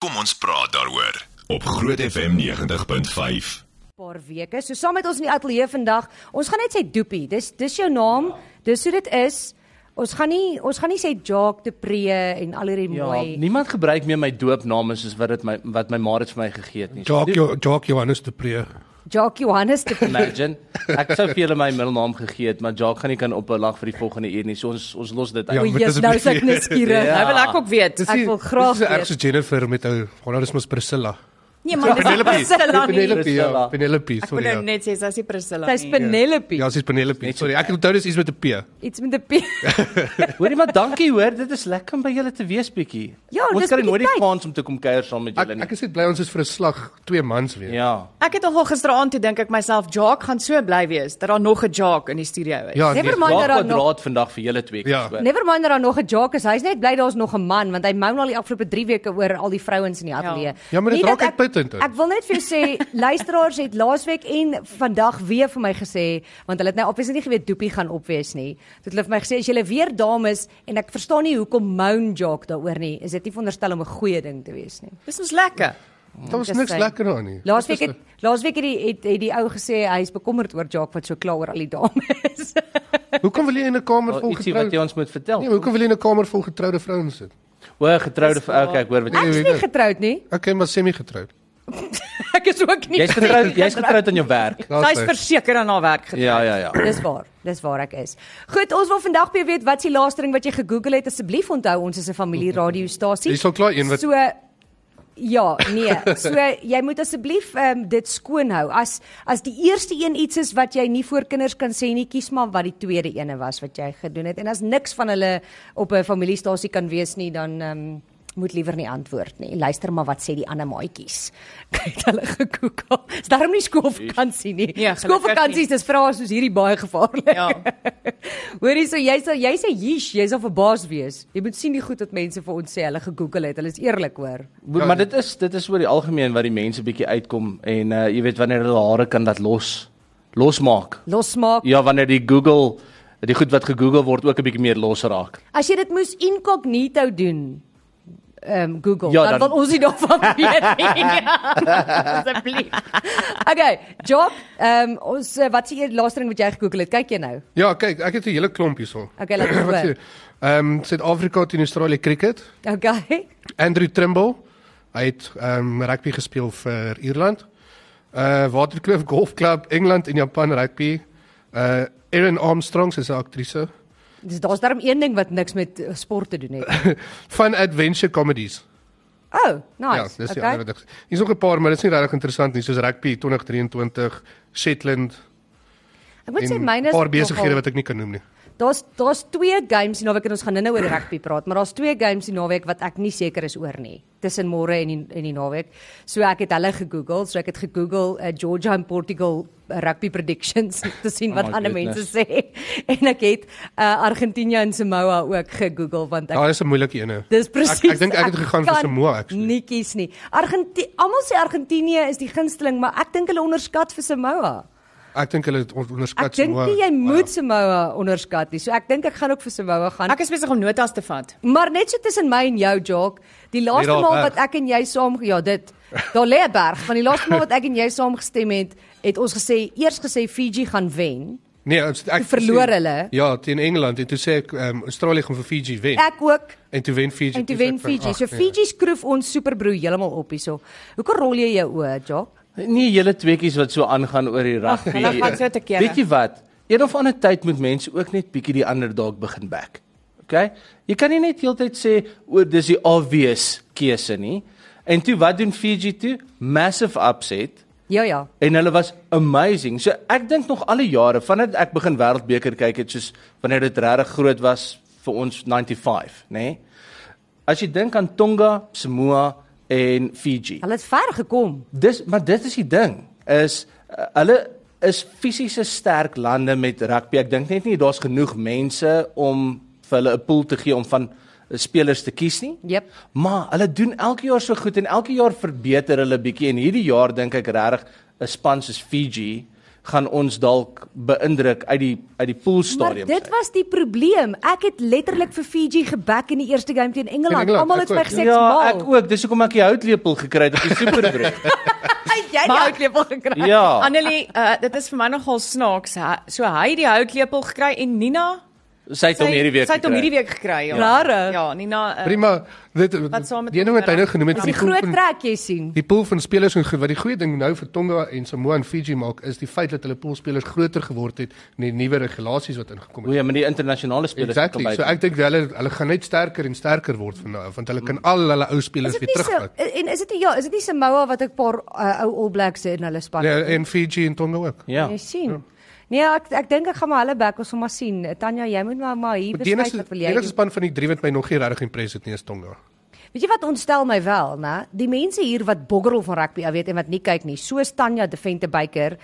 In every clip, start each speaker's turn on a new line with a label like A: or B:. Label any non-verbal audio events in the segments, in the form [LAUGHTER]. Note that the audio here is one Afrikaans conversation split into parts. A: Kom ons praat daaroor op Groot FM 90.5.
B: paar weke. So saam met ons in die ateljee vandag, ons gaan net sê Doopie. Dis dis jou naam. Dis hoe dit is. Ons gaan nie ons gaan nie sê Jacques de Pree en al hierdie
C: Ja,
B: mooi.
C: niemand gebruik meer my doopname soos wat dit my wat my ma dit vir my gegee het nie. So,
D: Jock jo, Jock Johannes de Pre.
B: Jacques Johannes de
C: [LAUGHS]
B: Pree.
C: imagine. Ek sou vir julle my middelnaam gegee het, maar Jacques gaan nie kan ophou lag vir die volgende uur nie. So ons ons los dit
D: Ja,
C: uit.
B: O,
D: maar
B: jy's
D: dis
B: nou
D: 'n
B: so
D: bietjie-
B: nuuskierig.
C: Ja.
E: Nou wil ek ook weet.
B: Ek wil graag
D: Dis
B: weet.
D: ergens Jennifer met ou Honor is mos Priscilla.
E: Nee, maar dis nie Priscilla
B: nee.
E: nie.
D: Penelope,
C: Priscilla.
D: ja, Penelope,
E: Ek wil
D: sorry.
E: nou
D: ja.
E: net sê sy's nie Priscilla
B: Sy's
E: nie.
B: Penelope.
D: Ja, sy's Penelope.
C: Net so
D: Sorry, ek onthou dis iets met 'n P.
B: Iets met 'n P.
C: Hoorie maar dankie hoor, dit is lekker om by julle te wees bietjie.
B: Ja, dis
C: ons kry nooit die
B: bietjie tyd.
C: kans om te kom kuier saam met
D: Ek
C: julle
D: ek
C: nie.
D: is net bly ons is vir 'n slag 2 maande weer.
C: Ja.
E: Ek het nogal gisteraand toe dink ek myself, Jacques gaan so bly wees dat daar nog 'n Jacques in die studio is.
D: Ja,
B: Never
D: nee,
B: mind dat
C: Jacques
B: daar nog Nee,
C: kwadraat vandag vir julle twee.
D: Ja.
C: keer.
B: Never mind dat daar nog 'n Jacques is. Hy's net bly daar's nog 'n man want hy mou nou al die afgelope 3 weke oor al die vrouens in die ateljee.
D: Ja, maar dit
B: Nie
D: raak
B: dat ek-
D: uitputtend ook.
B: Ek wil net vir jou
D: [LAUGHS]
B: sê, luisteraars het laasweek en vandag weer vir my gesê, want hulle het nou obviously nie geweet Doopie gaan opwees nie. Toe het hulle vir my gesê as jy weer dames en ek verstaan nie hoekom moan Jock daaroor nie. Is dit nie veronderstel om 'n goeie ding te wees nie?
E: Dis mos lekker.
D: daar was
B: Just
D: niks
B: saying.
D: lekker aan nie.
B: Laasweek het laasweek het die het, het die ou gesê hy is bekommerd oor Jock wat so kla oor al die dames.
D: Hoekom wil jy in 'n kamer
C: Wel,
D: vol
C: Ietsie wat jy
D: getroude?
C: ons moet
D: Nee,
C: vertel.
D: maar hoekom wil jy in 'n kamer vol getroude vrouens sit?
C: O, getroude vrou, okay, ek hoor wat
B: Ek
C: jy
B: is nie getroud nie. [LAUGHS]
D: Okay, maar semi getroud.
B: Ek is ook nie.
C: Jy's
B: [LAUGHS]
C: getroud, jy's getroud aan jou werk.
E: Sy's verseker aan haar werk gedoen.
C: Ja, ja, ja.
B: Dis waar. Dis waar ek is. Goed, ons wil vandag by jou weet wat is die laaste ding wat jy gegoogel het asseblief onthou ons is 'n familieradiostasie.
D: Hier is al klaar een wat-
B: So ja, nee. So jy moet asseblief um, dit skoon hou. As as die eerste een iets is wat jy nie voor kinders kan sê nie, kies maar wat die tweede ene was wat jy gedoen het. En as niks van hulle op 'n familiestasie kan wees nie, dan um, moet liewer nie antwoord nie. Luister maar wat sê die ander maatjies. [LAUGHS] Kyk hulle gegoogel. Is daarom nie skoolvakansie nie.
E: Ja, gelukkig nie.
B: skoolvakansies dis vrae soos hierdie baie gevaarlik.
E: [LAUGHS]
B: [LAUGHS]
E: Ja.
B: Hoorie so jy sal jy sê jish, jy sal verbaas wees. Jy moet sien die goed wat mense vir ons sê hulle gegoogel het. Hulle is eerlik hoor.
C: Boer, maar dit is dit is oor die algemeen wat die mense bietjie uitkom en uh jy weet wanneer hulle hare kan laat los losmaak.
B: Losmaak.
C: Ja, wanneer die Google die goed wat gegoogel word ook 'n bietjie meer los raak.
B: As jy dit moes incognito doen, ehm um, Google,
C: Ja,
B: ja, dan,
C: dan-
B: dan wil ons nie daarvan [LAUGHS] weet
E: Ja.
B: nie.
E: Asseblief.
B: okay, Job, ehm um, ons eh, wat se laaste ding wat jy gegoogel het? Kyk jy nou.
D: Ja, kyk, ek het 'n hele klomp hierso.
B: Okay,
D: [LAUGHS]
B: laat ons
D: Wat
B: hoor.
D: sê- Ehm Suid-Afrika teen Australië cricket.
B: Okay.
D: Andrew Trimble. Hy het ehm um, rugby gespeel vir Ierland. Uh Waterkloof Golf Club Engeland en Japan rugby. Uh Erin Armstrong sy's 'n aktrise.
B: Dis daar's darm een ding wat niks met eh, sport te doen
C: [LAUGHS]
B: het.
D: Van adventure comedies.
B: Oh, nice.
D: Ja, dis die
B: okay.
D: ander wat ek. Hier's nog 'n paar, maar dit is nie regtig interessant nie, soos rugby 2023, Shetland.
B: Ek moet sê
D: en 'n
B: myne is
D: paar
B: nogal-
D: besighede wat ek nie kan noem nie.
B: Daar's daar's twee games die naweek en ons gaan nou-nou oor rugby praat, maar daar's twee games die naweek wat ek nie seker is oor nie. Tussen môre en die, en die naweek. So ek het hulle gegoogel, so ek het gegoogel uh, Georgia en Portugal uh, rugby predictions [LAUGHS] om te sien
C: Oh
B: wat
C: my
B: oh ander mense
C: goodness.
B: sê. [LAUGHS] En ek het uh, Argentinië en Samoa ook gegoogel want ek
D: Ja, dis 'n moeilike een.
B: Dis presies.
D: Ek, ek dink ek het gegaan vir
B: kan
D: Samoa actually.
B: Nie kies nie. Argentinië, almal sê Argentinië is die gunsteling, maar ek dink hulle onderskat vir Samoa.
D: Ek dink hulle het on- onderskat
B: Ek dink
D: Samoa.
B: nie jy
D: Baie.
B: moet Samoa onderskat nie. So ek dink ek gaan ook vir Samoa gaan.
E: Ek is besig om notas te vat.
B: Maar net so tussen my en jou, Jock, die laaste
D: daar
B: maal
D: berg.
B: wat ek en jy saam ja, dit daar lê 'n berg. Van die laaste maal wat ek en jy saam gestem het, het ons gesê eers gesê Fiji gaan wen.
D: Nee, ons- ek
B: Toe verloor
D: sê-
B: hulle.
D: Ja, teen Engeland en toe sê ek ehm um, Australië gaan vir Fiji wen. Ek,
B: Ek ook
D: en toe wen Fiji.
B: en toe
D: sê
B: wen
D: ek van,
B: Fiji.
D: ag, nee.
B: So Fiji skroef ons superbroer heeltemal op hierso. Hoekom rol jy jou oë, Jock?
C: Nie julle tweeetjies wat so aangaan oor die rugby. [LAUGHS]
E: hulle gaan so te kere.
C: Weet jy wat? Een of ander tyd moet mense ook net bietjie die ander dalk begin back. OK? Jy kan nie net heeltyd sê oor dis die obvious keuse nie. En toe wat doen Fiji toe? Massive upset.
B: Ja ja.
C: En hulle was amazing. So ek dink nog al die jare vandat ek begin wêreldbeker kyk het soos wanneer dit regtig groot was vir ons 95, nê? Nee? As jy dink aan Tonga, Samoa en Fiji.
B: Hulle het ver gekom.
C: Dis maar dit is die ding is uh, hulle is fisiese sterk lande met rugby. Ek dink net nie daar's genoeg mense om vir hulle 'n pool te gee om van uh, spelers te kies nie.
B: Jep.
C: Maar hulle doen elke jaar so goed en elke jaar verbeter hulle bietjie en hierdie jaar dink ek regtig 'n span soos Fiji gaan ons dalk beïndruk uit die uit die
B: Maar
C: poolstadium.
B: dit was die probleem. Ek het letterlik vir Fiji gebak in die eerste game teen Engeland.
D: Engeland,
B: Almal
D: ek
B: het my
D: ook.
B: gesê
C: ja,
B: "Maal."
C: ek ook. Dis hoekom ek die houtlepel gekry het op die superbrood.
B: Hy jy het die houtlepel gekry.
C: ja.
E: Annelie, uh, dit is vir my nogal snaaks. Hy- So hy het die houtlepel gekry en Nina
C: Sy het hom hierdie week.
E: sy het hom
C: gekry.
E: hierdie week gekry, ja.
B: Rarig.
E: Ja, Nina
B: Ehm,
E: uh,
D: Prima. Dit
E: Wat saam met
D: die ding wat hy nou genoem het
E: Dis
B: Die
D: vir die groep
B: groot
D: van
B: trek jy sien.
D: die pool van spelers en goed, wat die goeie ding nou vir Tonga en Samoa en Fiji maak is die feit dat hulle poolspelers groter geword het in die nuwe regulasies wat ingekom het.
C: Hoe jy met die internasionale spelers
D: Exactly. So ek dink hulle hulle gaan net sterker en sterker word van nou af, want hulle kan al hulle ou
B: Is
D: spelers
B: dit
D: weer
B: nie so
D: terugvat.
B: en is dit nie ja, is dit nie Samoa wat 'n paar uh, ou All Blacks het in hulle span?
D: Ja, en Fiji en Tonga ook.
C: ja.
B: Jy sien. Nee, ek ek dink ek gaan maar hulle back ons sal maar sien. Tanya, jy moet maar maar hier
D: Maar Die
B: besluit
D: enigste
B: wat wil
D: die
B: jy.
D: enigste
B: doen.
D: span van die drie wat my nog nie regtig impress het nie is Tonga.
B: Weet jy wat ontstel my wel, né? Die mense hier wat boggerel van rugby, jy weet en wat nie kyk nie, soos Tanya Devente Baker,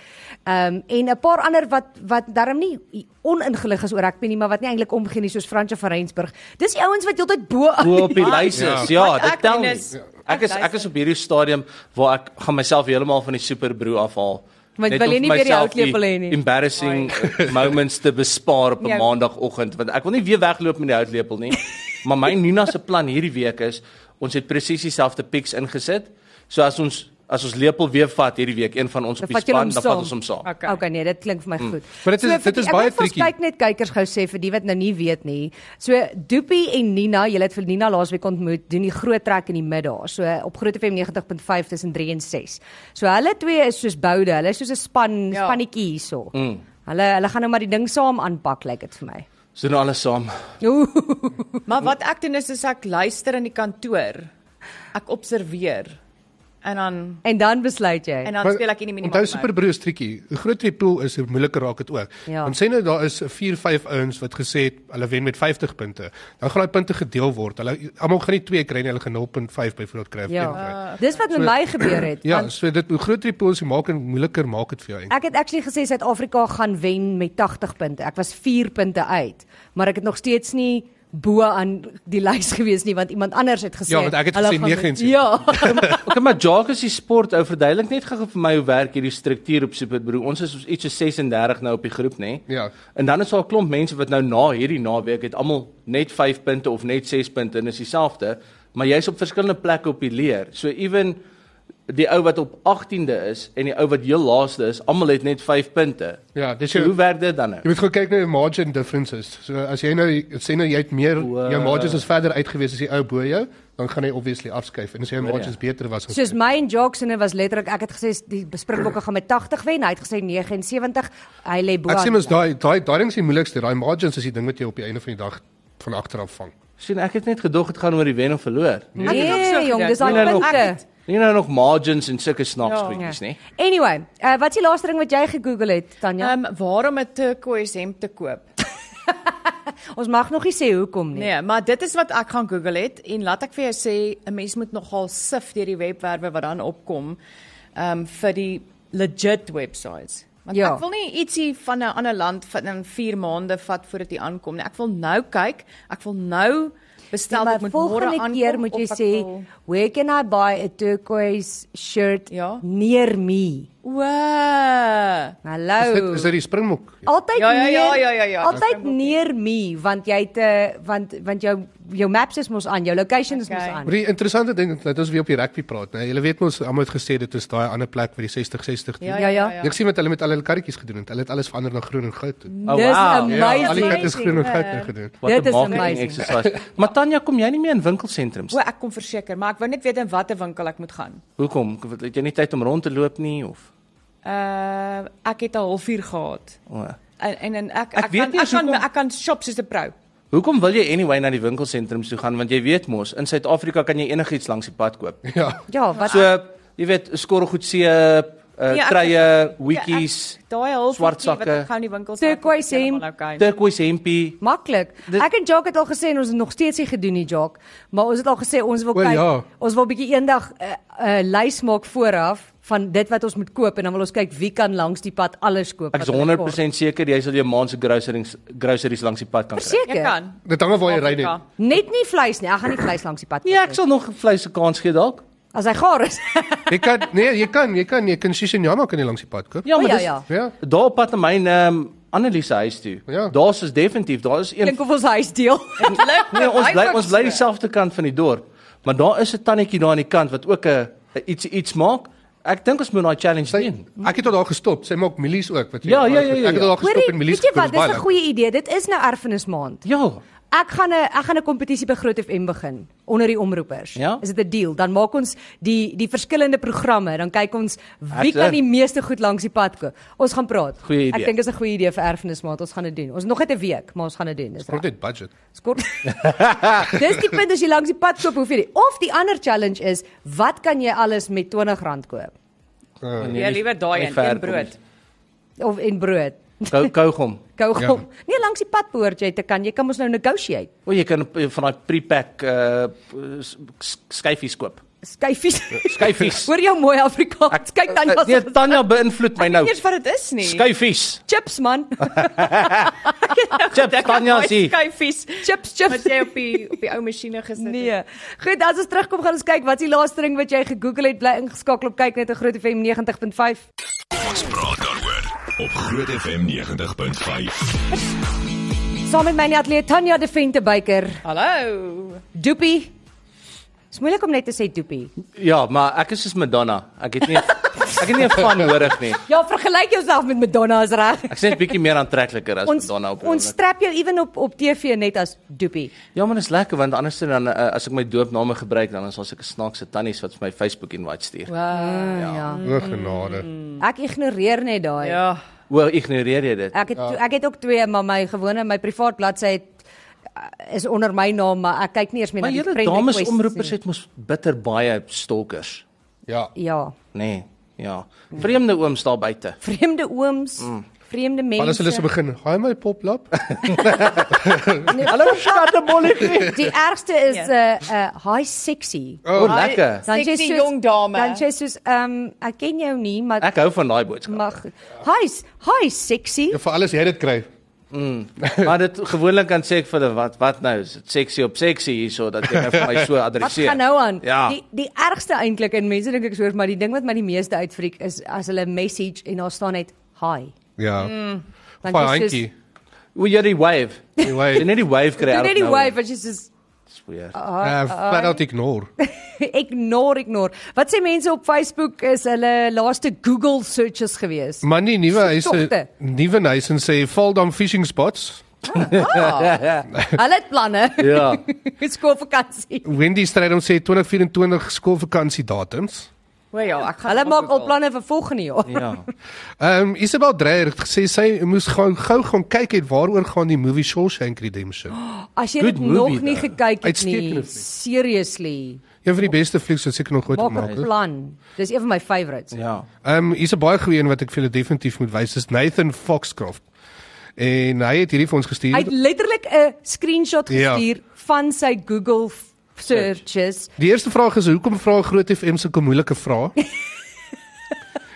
B: ehm um, en 'n paar ander wat wat darm nie oningelig is oor rugby nie, maar wat nie eintlik omgee nie, soos Fransje van Rensburg. Dis die ouens wat heeltyd bo
C: Hoe op die
E: Ja.
C: lys is. Ja,
E: Wat ek
C: dit tel
E: doen
C: nie.
E: is-
C: Ek is ek is op hierdie stadium waar ek gaan myself heeltemal van die superbrood afhaal.
B: Want
C: Net
B: wil jy
C: om
B: nie weer die
C: myself
B: houtlepel hê nie. Nee.
C: Embarrassing [LAUGHS] moments te bespaar op 'n
E: Ja.
C: maandagooggend want ek wil nie weer wegloop met die houtlepel
B: [LAUGHS]
C: nie. maar my Nina se plan hierdie week is ons het presies dieselfde picks ingesit. So as ons as ons lepel weer vat hierdie week een van ons
B: Dan
C: op die
B: vat julle
C: span
B: hom
C: dan vat
B: saam.
C: ons hom saam.
E: Okay.
B: Okay. okay, nee, dit klink vir my goed.
D: Mm. Maar dit is-
B: vir
D: dit
B: die-
D: is baie
B: Ek wil
D: tricky.
B: kyk net kykers gou sê vir die wat nou nie weet nie. So Doopie en Nina, julle het vir Nina laasweek ontmoet, doen die groot trek in die middag. So op Groot FM 90.5 tussen 3 en 6. So hulle twee is soos boude, hulle is soos 'n span,
E: Ja.
B: ja. spannetjie hierso. Mm. Hulle hulle gaan nou maar die ding saam aanpak, lyk dit vir my.
E: [LAUGHS]
C: So nou alles saam.
B: Ooh.
E: Maar wat ek doen is, is ek luister in die kantoor. Ek observeer. En dan
B: En dan besluit jy.
E: en dan
D: Maar
E: speel ek in die minimum.
D: Onthou superbroers triekie. Hoe groter die pool is, hoe moeiliker raak dit ook.
B: Ja.
D: Want sê nou daar is 4, 5 ouens wat gesê het hulle wen met 50 punte. Dan gaan daai punte gedeel word. Hulle almal gaan nie 2 kry nie, hulle gaan 0.5 byvoorbeeld kry of 1 kry.
E: Ah,
B: ja. Dis wat met my gebeur het.
D: [CLEARS THROAT] Ja,
B: want
D: so dit hoe groter die pool is, hoe maak en moeiliker maak dit vir jou. eintlik.
B: Ek het actually gesê Suid-Afrika gaan wen met 80 punte. Ek was 4 punte uit, maar ek het nog steeds nie bo aan die lys [LAUGHS] gewees nie want iemand anders het gesê
D: Ja, want ek het
B: hulle
D: gesê
B: gaan
D: 79.
B: Ja. [LAUGHS]
C: Okay, maar Jacques is die sport ou verduidelik net gou vir my hoe werk hierdie struktuur op Superbroer. Ons is iets so 36 nou op die groep, nê?
D: Ja.
C: En dan is daar 'n klomp mense wat nou na hierdie naweek het almal net 5 punte of net 6 punte en is dieselfde, maar jy's op verskillende plekke op die leer. So ewen die ou wat op 18de is en die ou wat heel laaste is, almal het net 5 punte.
D: Ja, dis
C: So,
D: jou
C: hoe werk dit dan nou?
D: Jy moet gou kyk na die margin differences. So as jy nou sê nou jy het meer
C: Wow.
D: jou margins is verder uitgewees as die ou bo jou, dan gaan hy obviously afskuif en as jou margins beter was.
B: Soos my en Jackson was letterlik ek het gesê die Springbokke gaan met 80 wen. Hy het gesê 79. Hy lê bo.
D: Ek
B: aan.
D: sien ons daai daai daai ding is die moeilikste. Daai margins is die ding wat jy op die einde van die dag van agteraf vang.
C: Sien, ek het net gedog dit gaan oor die wen of verloor.
D: Ja.
E: Ek het ook so
B: Nee, jong,
E: gedink.
B: dis
C: Nee,
B: daai
C: nee,
B: punte.
E: ek het-
C: Nie nou nog margins en sulke snaaks
E: Ja.
C: goedjies, nê?
B: Anyway, uh, wat is die laaste ding wat jy gegoogel het, Tanya?
E: Ehm um, waarom 'n turquoise hemp te koop?
B: Ja. ons mag nog nie sê hoekom nie.
E: Nee, maar dit is wat ek gaan Google het en laat ek vir jou sê, 'n mens moet nogal sif deur die webwerwe wat dan opkom ehm um, vir die legit websites. Want ja.
B: Ja.
E: ek wil nie ietsie van 'n ander land van in 4 maande vat voordat dit aankom nie. Ek wil nou kyk, ek wil nou
B: Nee,
E: bestel
B: Ja, maar
E: dit moet môre
B: volgende
E: aankom.
B: keer moet jy
E: of ek
B: sê
E: wil-
B: where can I buy a turquoise shirt
E: Ja.
B: near me?
E: Wow.
B: Hallo.
D: Is dit is dit die springbok?
B: Altyd
E: Ja, ja,
B: neer.
E: ja, ja, ja, ja.
B: Altyd
E: Dis
B: neer me want jy het 'n want want jou jou maps is mos aan, jou location is mos
E: Okay.
B: aan.
D: Maar die interessante ding is dat ons weer op die rugby praat, né? Julle weet mos almal het gesê dit is daai ander plek vir die 60 60.
E: Ja,
D: Ja,
E: ja, ja.
B: ja.
E: ja.
D: Ek sien wat hulle met al hulle karretjies gedoen het. Hulle het alles verander na groen en goud. toe.
C: Oh,
B: Dis
C: wow.
D: Ja, al die
B: amazing.
D: karretjies groen en goud nou gedoen.
C: Wat
B: Dit
C: 'n
B: is
C: marketing
B: amazing.
C: exercise. [LAUGHS] Maar Tanya, kom jy nie meer in winkelsentrums?
E: O, ek kom verseker, maar ek wou net weet in watter winkel ek moet gaan.
C: Hoekom? Wat, Het jy nie tyd om rond te loop nie of?
E: Uh ek het 'n halfuur gehad.
C: O.
E: En en, en ek
C: Ek weet
E: kan,
C: nie
E: ek
C: eens
E: kan
C: hoekom-
E: ek kan shop soos 'n pro. Ja,
C: Hoekom wil jy anyway na die winkelsentrums toe gaan want jy weet mos, in Suid-Afrika kan jy enigiets langs die pad koop.
D: Ja.
B: Ja, wat
C: So, jy weet, skorrelgoedseep, uh,
E: Nee,
C: ja,
E: ek-
C: treie,
E: Ja, ek-
C: hoedjies,
E: Daai halfuur
C: swart
E: wat ek
C: sakke.
E: gou in die winkel
B: Turquoise hemp.
E: Okay.
C: turquoise hempie.
B: maklik.
C: Dit-
B: Ek en Jock het al gesê en ons het nog steeds nie gedoen nie, Jock, maar ons het al gesê ons wil
D: Wel,
B: kyk.
D: ja.
B: Ons wil bietjie eendag 'n uh, 'n uh, lys maak vooraf van dit wat ons moet koop en dan wil ons kyk wie kan langs die pad alles koop.
C: Ek is 100% seker jy sal jou maand se groceries groceries langs die pad kan kry.
E: Jy
B: seker.
E: kan.
D: Dit hang af waar jy ry net.
E: Afrika.
B: Net nie vleis nie. Ek gaan nie vleis langs die pad koop
C: Nee, ek
B: nie.
C: sal nog vleis 'n kans gee dalk.
B: As hy gaar is.
D: Jy kan nee, jy kan, jy kan, jy kan Shishinyama kan jy langs die pad
C: [LAUGHS]
D: koop.
C: Ja,
B: O,
C: maar
B: ja,
C: dis
B: ja.
D: Ja.
C: Daar op pad na my ehm Annelise huis toe.
D: Ja.
C: Daar's is definitief, daar is een
B: Klink of ons huis deel.
E: Klink.
C: Nee, ons
E: Hy
C: bly
E: ook
C: ons bly
E: so.
C: dieselfde kant van die dorp, maar daar is 'n tannetjie daar aan die kant wat ook 'n 'n iets iets maak. Ek dink ons moet daai challenge
D: Sy,
C: doen.
D: ek het tot daar gestop. Sy maak mielies ook, weet jy.
C: Ja, ja, ja, ja,
D: Ek het tot daar
B: Hoorie,
D: gestop en mielies
B: weet jy wat, dis
D: baie
B: 'n
D: lekker.
B: goeie idee. Dit is nou erfenis maand.
C: Ja.
B: Ek gaan 'n ek gaan 'n kompetisie by Groot FM begin onder die omroepers.
C: Ja?
B: Is dit 'n deal? Dan maak ons die die verskillende programme, dan kyk ons wie
C: Ek
B: kan
C: dink-
B: die meeste goed langs die pad koop. Ons gaan praat.
C: Goeie idee.
B: Ek dink dis 'n goeie idee vir erfenismaand. Ons gaan dit doen. Ons nog net 'n week, maar ons gaan dit doen. Dis
D: Kort
B: reg.
D: net budget.
B: Skort. [LAUGHS] Dis die punt as jy langs die pad koop, hoef jy nie. Of die ander challenge is, wat kan jy alles met R20 koop?
D: Eh,
E: Ja, liewer daai
C: Nee, nie
E: een,
C: ver
E: een brood.
B: Of en brood.
C: Kou
E: [LAUGHS]
C: kougom.
B: Kougom. Ja. Nee, langs die pad behoort jy te kan. Jy kan mos nou negotiate.
C: O, jy kan op- eh, van daai pre-pack uh s- s- skyfies koop.
B: Skyfies.
C: Skyfies.
B: [LAUGHS] Hoor jou mooi Afrikaans. Kyk dan
C: Eh,
B: as
C: Nee, Tanya beïnvloed my
E: Ek weet
C: nou.
E: eers wat dit is nie. [LAUGHS]
C: Skyfies.
B: chips
C: [LAUGHS]
B: man.
C: Chips, Tanya sê.
E: Skyfies
B: chips,
E: wat
B: chips.
E: jy op die op die ou masjiene gesit het.
B: Nee. Goed, as ons terugkom gaan ons kyk wat is die laaste ding wat jy gegoogel het. Bly ingeskakel op kyk net op Groot FM 90.5.
A: Ons praat daaroor op Groot FM 90.5.
B: Saam met my in die ateljee Tanya De Vente Beyker.
E: Hallo.
B: Doopie. Is moeilik om net te sê doopie.
C: Ja, maar ek is soos Madonna. Ek het nie ek het nie 'n
E: [LAUGHS]
C: fan hoorig nie.
B: Ja, vergelyk jouself met Madonna is reg.
C: Ek sê net bietjie meer aantrekliker as
B: Ons
C: Madonna op. die
B: ons
C: oomblik.
B: strap jou ewen op op TV net as doopie.
C: Ja, maar dit is lekker want anders dan uh, as ek my doopname gebruik dan is daar seker snaakse tannies wat vir my Facebook invite stuur.
E: Wow.
B: Ja. ja.
D: O genade.
B: Ek ignoreer net daai.
E: Ja.
C: O, ignoreer jy dit?
B: Ek het ja. ek het ook twee, maar my gewone my privaat bladsy het eh, is onder my naam, maar ek kyk nie eers meer na
C: Maar
B: die
C: julle
B: friend
C: dames
B: requests
C: omroepers
B: nie.
C: het mos bitter baie stalkers,
D: Ja.
B: ja,
C: nê? Nee, ja. Vreemde ooms daar buite.
B: vreemde ooms, mm. vreemde mense.
D: Alles hulle se begin. Haai my poplap. [LAUGHS]
C: Hallo
B: [LAUGHS]
C: skattebolletjie.
B: Nee. Die ergste is eh
E: Ja.
B: yeah. uh, uh hi sexy.
C: O, oh, lekker.
B: Dan
E: Sexy jong dame.
B: Dan jy soos ehm um, ek ken jou nie, maar ek
C: Ek hou van daai
B: [LAUGHS]
C: boodskap.
B: mag hi s- hi sexy.
D: Ja, vir alles jy dit kry.
C: Maar dit gewoonlik kan sê ek vir hulle wat wat nou is dit seksie op seksie hierso dat jy nou vir my so
B: Wat
C: adresseer.
B: gaan nou aan?
C: Ja.
B: Die die ergste eintlik en mense dink ek soos maar die ding wat my die meeste uitfreek is as hulle message en daar staan net hi.
D: Ja.
B: Dan
D: Baie
B: Mm, is
D: handjie.
B: soos-
C: O, jy die wave.
B: [LAUGHS]
C: Jy
D: Anyway,
C: net die wave kry.
B: Doen
C: elk
B: net die
C: nou en
B: wave Ah. as jy soos [LAUGHS]
C: dan. Dis weird. [LAUGHS]
D: uh, flat out ignore.
B: ignore ignore. Wat sê mense op Facebook is hulle laaste Google searches
C: [LAUGHS]
B: gewees.
D: Maar nie nuwe huise,
B: Togte.
D: nuwe huise en sê val dan fishing spots.
B: Hulle het planne.
C: Ja.
B: [LAUGHS] Dit skoolvakansie.
D: Wendy Strydom sê 2024 skoolvakansiedatums.
E: O ja, ek gaan
B: Hulle
E: ook
B: maak al
E: Google.
B: planne vir volgende jaar.
C: Ja.
D: Ehm um, Isabel Dreyer het gesê sy moes gou gou gaan kyk het waaroor gaan die movie Shawshank
B: [GASPS]
D: Redemption.
B: As jy
C: Good
B: dit
C: movie,
B: nog nie
C: though.
B: gekyk het
D: Uitstekende
B: nie,
D: fliek.
B: seriously,
D: Een van die beste flieks wat seker nog ooit
B: maak
D: gemaak
B: 'n
D: is.
B: plan. Dis een van my favorites.
C: Ja.
D: Ehm um, hier's 'n baie goeie een wat ek vir julle definitief moet wys. Dis Nathan Foxcroft. En hy het hierdie vir ons gestuur.
B: Hy het letterlik 'n screenshot
D: Ja.
B: gestuur van sy Google f- searches.
D: Die eerste vraag is hoekom vra Groot FM sulke moeilike vrae?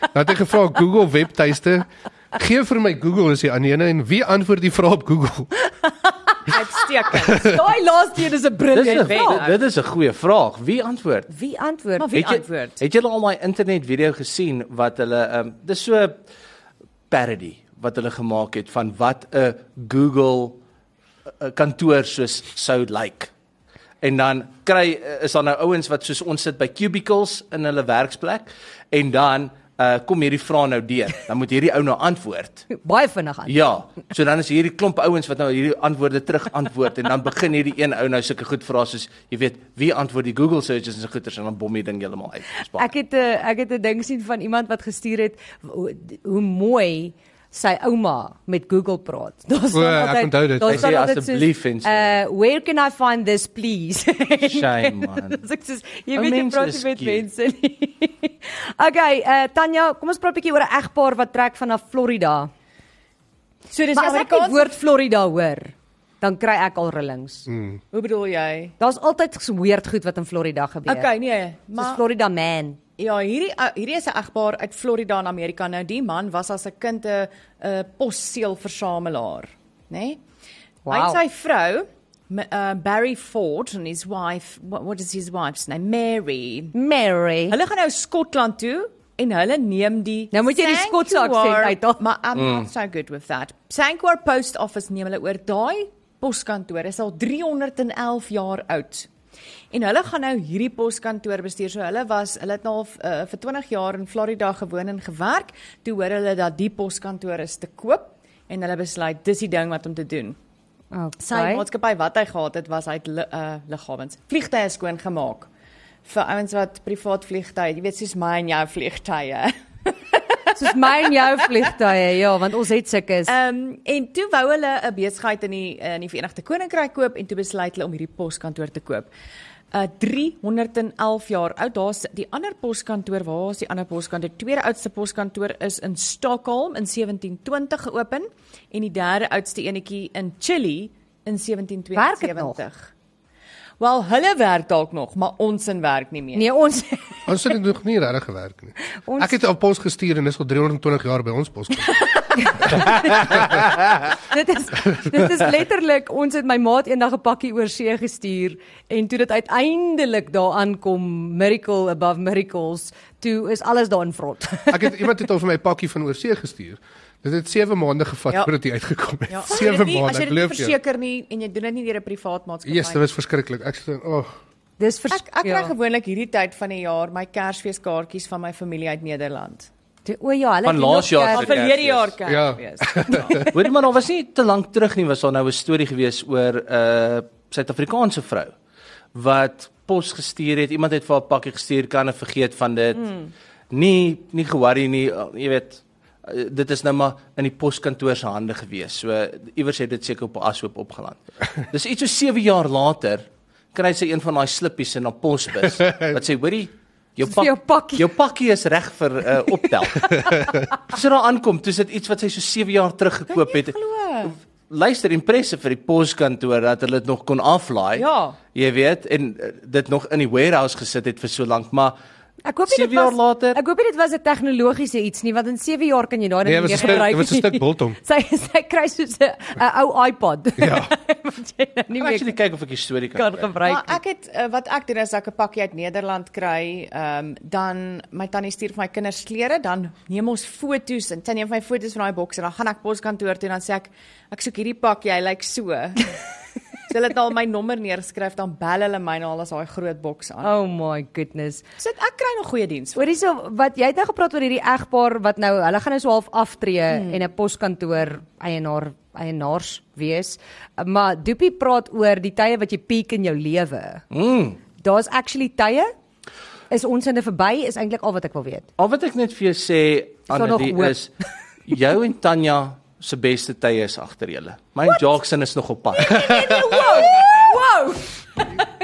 D: Dan het ek gevra Google webtuiste. Gee vir my Google is die ander ene en wie antwoord die vraag op Google?
B: [LAUGHS]
E: Uitstekend.
B: Daai laaste een is 'n
C: Dis 'n
B: briljant.
C: dit- dit is 'n goeie vraag. Wie antwoord?
B: Wie antwoord?
E: Maar wie
C: Het jy-
E: antwoord?
C: Het julle al daai internet video gesien wat hulle ehm um, dis so 'n parody wat hulle gemaak het van wat 'n Google uh, kantoor soos sou lyk. Like. En dan kry eh, is daar nou ouens wat soos ons sit by cubicles in hulle werksplek en dan uh, kom hierdie vraag nou deur. Dan moet hierdie ou nou antwoord.
B: Baie vinnig aan.
C: Ja, so dan is hierdie klomp ouens wat nou hierdie antwoorde terug antwoord en dan begin hierdie een ou nou sulke goed vra soos jy weet, wie antwoord die Google searches en so goeters en dan bom jy ding heeltemal uit. Dis baie-
B: Ek het 'n ek het 'n ding sien van iemand wat gestuur het hoe, hoe mooi sy ouma met Google praat. [LAUGHS] Daar's
D: O, ek onthou dit.
B: daar
C: Hy
B: staan
C: sê
B: altyd
C: asseblief
B: soos,
C: en so.
B: Uh where can I find this please? [LAUGHS]
C: Shame, man.
B: Dis ek sê jy
C: Ou
B: weet jy
C: mense
B: praat
C: is
B: nie met
C: cute.
B: mense nie. [LAUGHS] okay, uh Tanya, kom ons praat 'n bietjie oor 'n egpaar wat trek vanaf Florida.
E: So dis
B: Maar as ek die
E: Amerikaans.
B: woord Florida hoor, dan kry ek al rillings.
C: Mm.
E: Hoe bedoel jy?
B: Daar's altyd so weird goed wat in Florida gebeur.
E: Okay, nee,
B: Ja. Dis
E: maar
B: Florida man.
E: Ja, hierdie ou- hierdie is 'n egpaar uit Florida in Amerika. Nou die man was as 'n kind 'n 'n posseelversamelaar, né? Nee?
B: Wow.
E: Hy en sy vrou M- Uh, Barry Ford and his wife, what, what is his wife's name? Mary.
B: Mary.
E: Hulle gaan nou Skotland toe en hulle neem die
B: Nou moet jy die Skotse
E: Sanctuary-
B: aksent uithaal.
E: Maar I'm not so good with that. Sanctuary Post Office neem hulle oor daai poskantoor. Is al 311 jaar oud. En hulle gaan nou hierdie poskantoor bestuur. So hulle was hulle het nou al uh, vir 20 jaar in Florida gewoon en gewerk. Toe hoor hulle dat die poskantoor is te koop en hulle besluit dis die ding wat om te doen. Sy
B: Okay.
E: maatskappy wat hy gehad het was hy het li- uh, liggawens vliegtye skoon gemaak vir ouens wat privaat vliegtye, jy weet soos my en jou vliegtye.
B: Soos my en jou vliegtye, ja, want ons het sulke is.
E: Ehm um, en toe wou hulle 'n besigheid in die in die Verenigde Koninkryk koop en toe besluit hulle om hierdie poskantoor te koop. Uh 311 jaar oud. Daar's die ander poskantoor, waar is die ander poskantoor? Die tweede oudste poskantoor is in Stockholm in 1720 geopen en die derde oudste enetjie in Chili in
B: Werk dit nog?
E: 1772. Wel, hulle werk dalk nog, maar ons in werk nie meer.
B: Nee, ons [LAUGHS]
D: Ons het dit nog nie regtig gewerk nie.
B: Ons-
D: Ek het al pos gestuur en dis al 320 jaar by ons pos.
B: dit is dit is letterlik ons het my maat eendag 'n pakkie oor see gestuur en toe dit uiteindelik daar aankom miracle above miracles toe is alles daarin vrot. [LAUGHS]
D: Ek het iemand het al vir my 'n pakkie van oorsee gestuur. Dit het 7 maande gevat
E: Ja.
D: voordat dit uitgekom het. [LAUGHS]
E: Ja,
D: Ja,
E: as jy dit
D: 7
E: nie-
D: maande,
E: As jy
D: ek
E: dit nie
D: glo jou.
E: verseker nie en jy doen dit nie deur 'n privaat maatskappy.
D: Yes, dit was verskriklik. Ek sê, "Ag, oh,
B: Dis vers, ja.
E: Ek ek kry gewoonlik hierdie tyd van die jaar my Kersfeeskaartjies van my familie uit Nederland.
B: Toe- O ja, hulle
C: Van
B: doen nog
C: laas jaar
E: Al
B: kerk.
C: se-
E: verlede jaar
D: Ja.
E: Kersfees. [LAUGHS]
C: Hoorie maar, daar was nie te lank terug nie was daar nou 'n storie gewees oor 'n uh, Suid-Afrikaanse vrou wat pos gestuur het. Iemand het vir haar 'n pakkie gestuur, kan het vergeet van dit.
B: Hmm.
C: Mm. Nie nie ge-worry nie, uh, jy weet. uh, Dit is nou maar in die poskantoor se hande gewees. So iewers het dit seker op 'n
B: [LAUGHS]
C: ashoop opgeland. Dis iets so 7 jaar later kry sy een van daai slippies in haar posbus wat sê hoorie jou,
B: Dis vir jou pakkie."
C: jou pakkie is reg vir uh,
B: [LAUGHS]
C: optel. As dit daar aankom, toe sit iets wat sy so 7 jaar terug gekoop het.
E: Glo.
C: Luister impressive vir die poskantoor dat hulle dit nog kon aflaai.
E: Ja.
C: Jy weet en eh, dit nog in die warehouse gesit het vir so lank, maar
B: Ek hoop nie dit
C: Sewe jaar
B: was
C: later-
B: Ek hoop nie dit was 'n tegnologiese iets nie, want in 7 jaar kan jy daai
D: Nee,
B: ding
D: dit was 'n stuk- dit was 'n stuk biltong.
B: [LAUGHS] Sy sy kry soos 'n 'n ou iPod. Ja. [LAUGHS] wat jy nou nie
C: ek
B: meer
C: actually kyk of ek die storie
B: kan
C: kan. kry.
E: Maar
B: gebruik. nie.
E: ek het uh, wat ek doen is ek 'n pakkie uit Nederland kry, ehm um, dan my tannie stuur vir my kinders klere, dan neem ons fotos en sy neem vir my fotos van daai boks en dan gaan ek poskantoor toe en dan sê ek ek soek hierdie pakkie, hy lyk [LAUGHS] so. so hulle het al my nommer neergeskryf, dan bel hulle my en haal as daai groot boks aan.
B: Oh my goodness.
E: Ah. So ek kry nog goeie diens.
B: Oor hierso wat jy het nou gepraat oor hierdie egpaar wat nou hulle gaan nou so half aftree
C: Mm.
B: hmm. en 'n poskantoor eienaar eienaars wees. Maar Doopie praat oor die tye wat jy piek in jou lewe.
C: Mm.
B: Daar's actually tye is ons in 'n verby is eintlik al wat ek wil weet.
C: [LAUGHS] Al wat ek net vir jou sê
B: daar nog
C: Annelie
B: hoop?
C: is jou en Tanya se beste tye is agter julle. My en Jackson is nog op pad.
B: wow! Wow!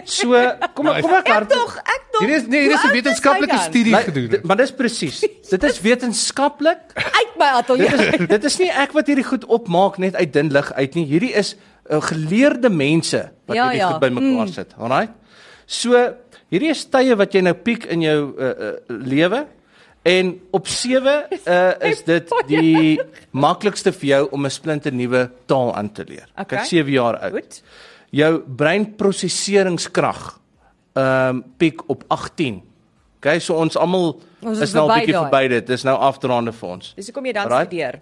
C: So, kom kom ek
E: Ek
C: hard.
E: tog, ek tog.
D: Hier is nee, hier
E: Hoe
D: is 'n
E: oud
D: wetenskaplike
E: hy dan?
D: studie
C: Maar-
D: gedoen.
C: dit-
D: het.
C: Maar dis presies. Dit is wetenskaplik
B: Uit my ateljee.
C: [LAUGHS] Dit is dit is nie ek wat hierdie goed opmaak net uit dun lig uit nie. Hierdie is uh, geleerde mense wat
B: Ja,
C: hierdie
B: ja.
C: goed bymekaar sit. Alraai. So hierdie is tye wat jy nou piek in jou uh, uh, lewe en op 7 uh,
B: [LAUGHS]
C: is dit die maklikste vir jou om 'n splinte nuwe taal aan te leer.
E: Okay.
C: Kyk 7 jaar oud.
E: Goed.
C: Jou breinprosesseringskrag ehm um, piek op 18. Okay, so ons almal
B: Ons
C: is,
B: is
C: nou 'n
B: verby
C: bietjie
B: daai.
C: verby dit. Dis nou afdraande vir ons.
E: Dis hoekom jy dan
C: Alright.
E: studeer.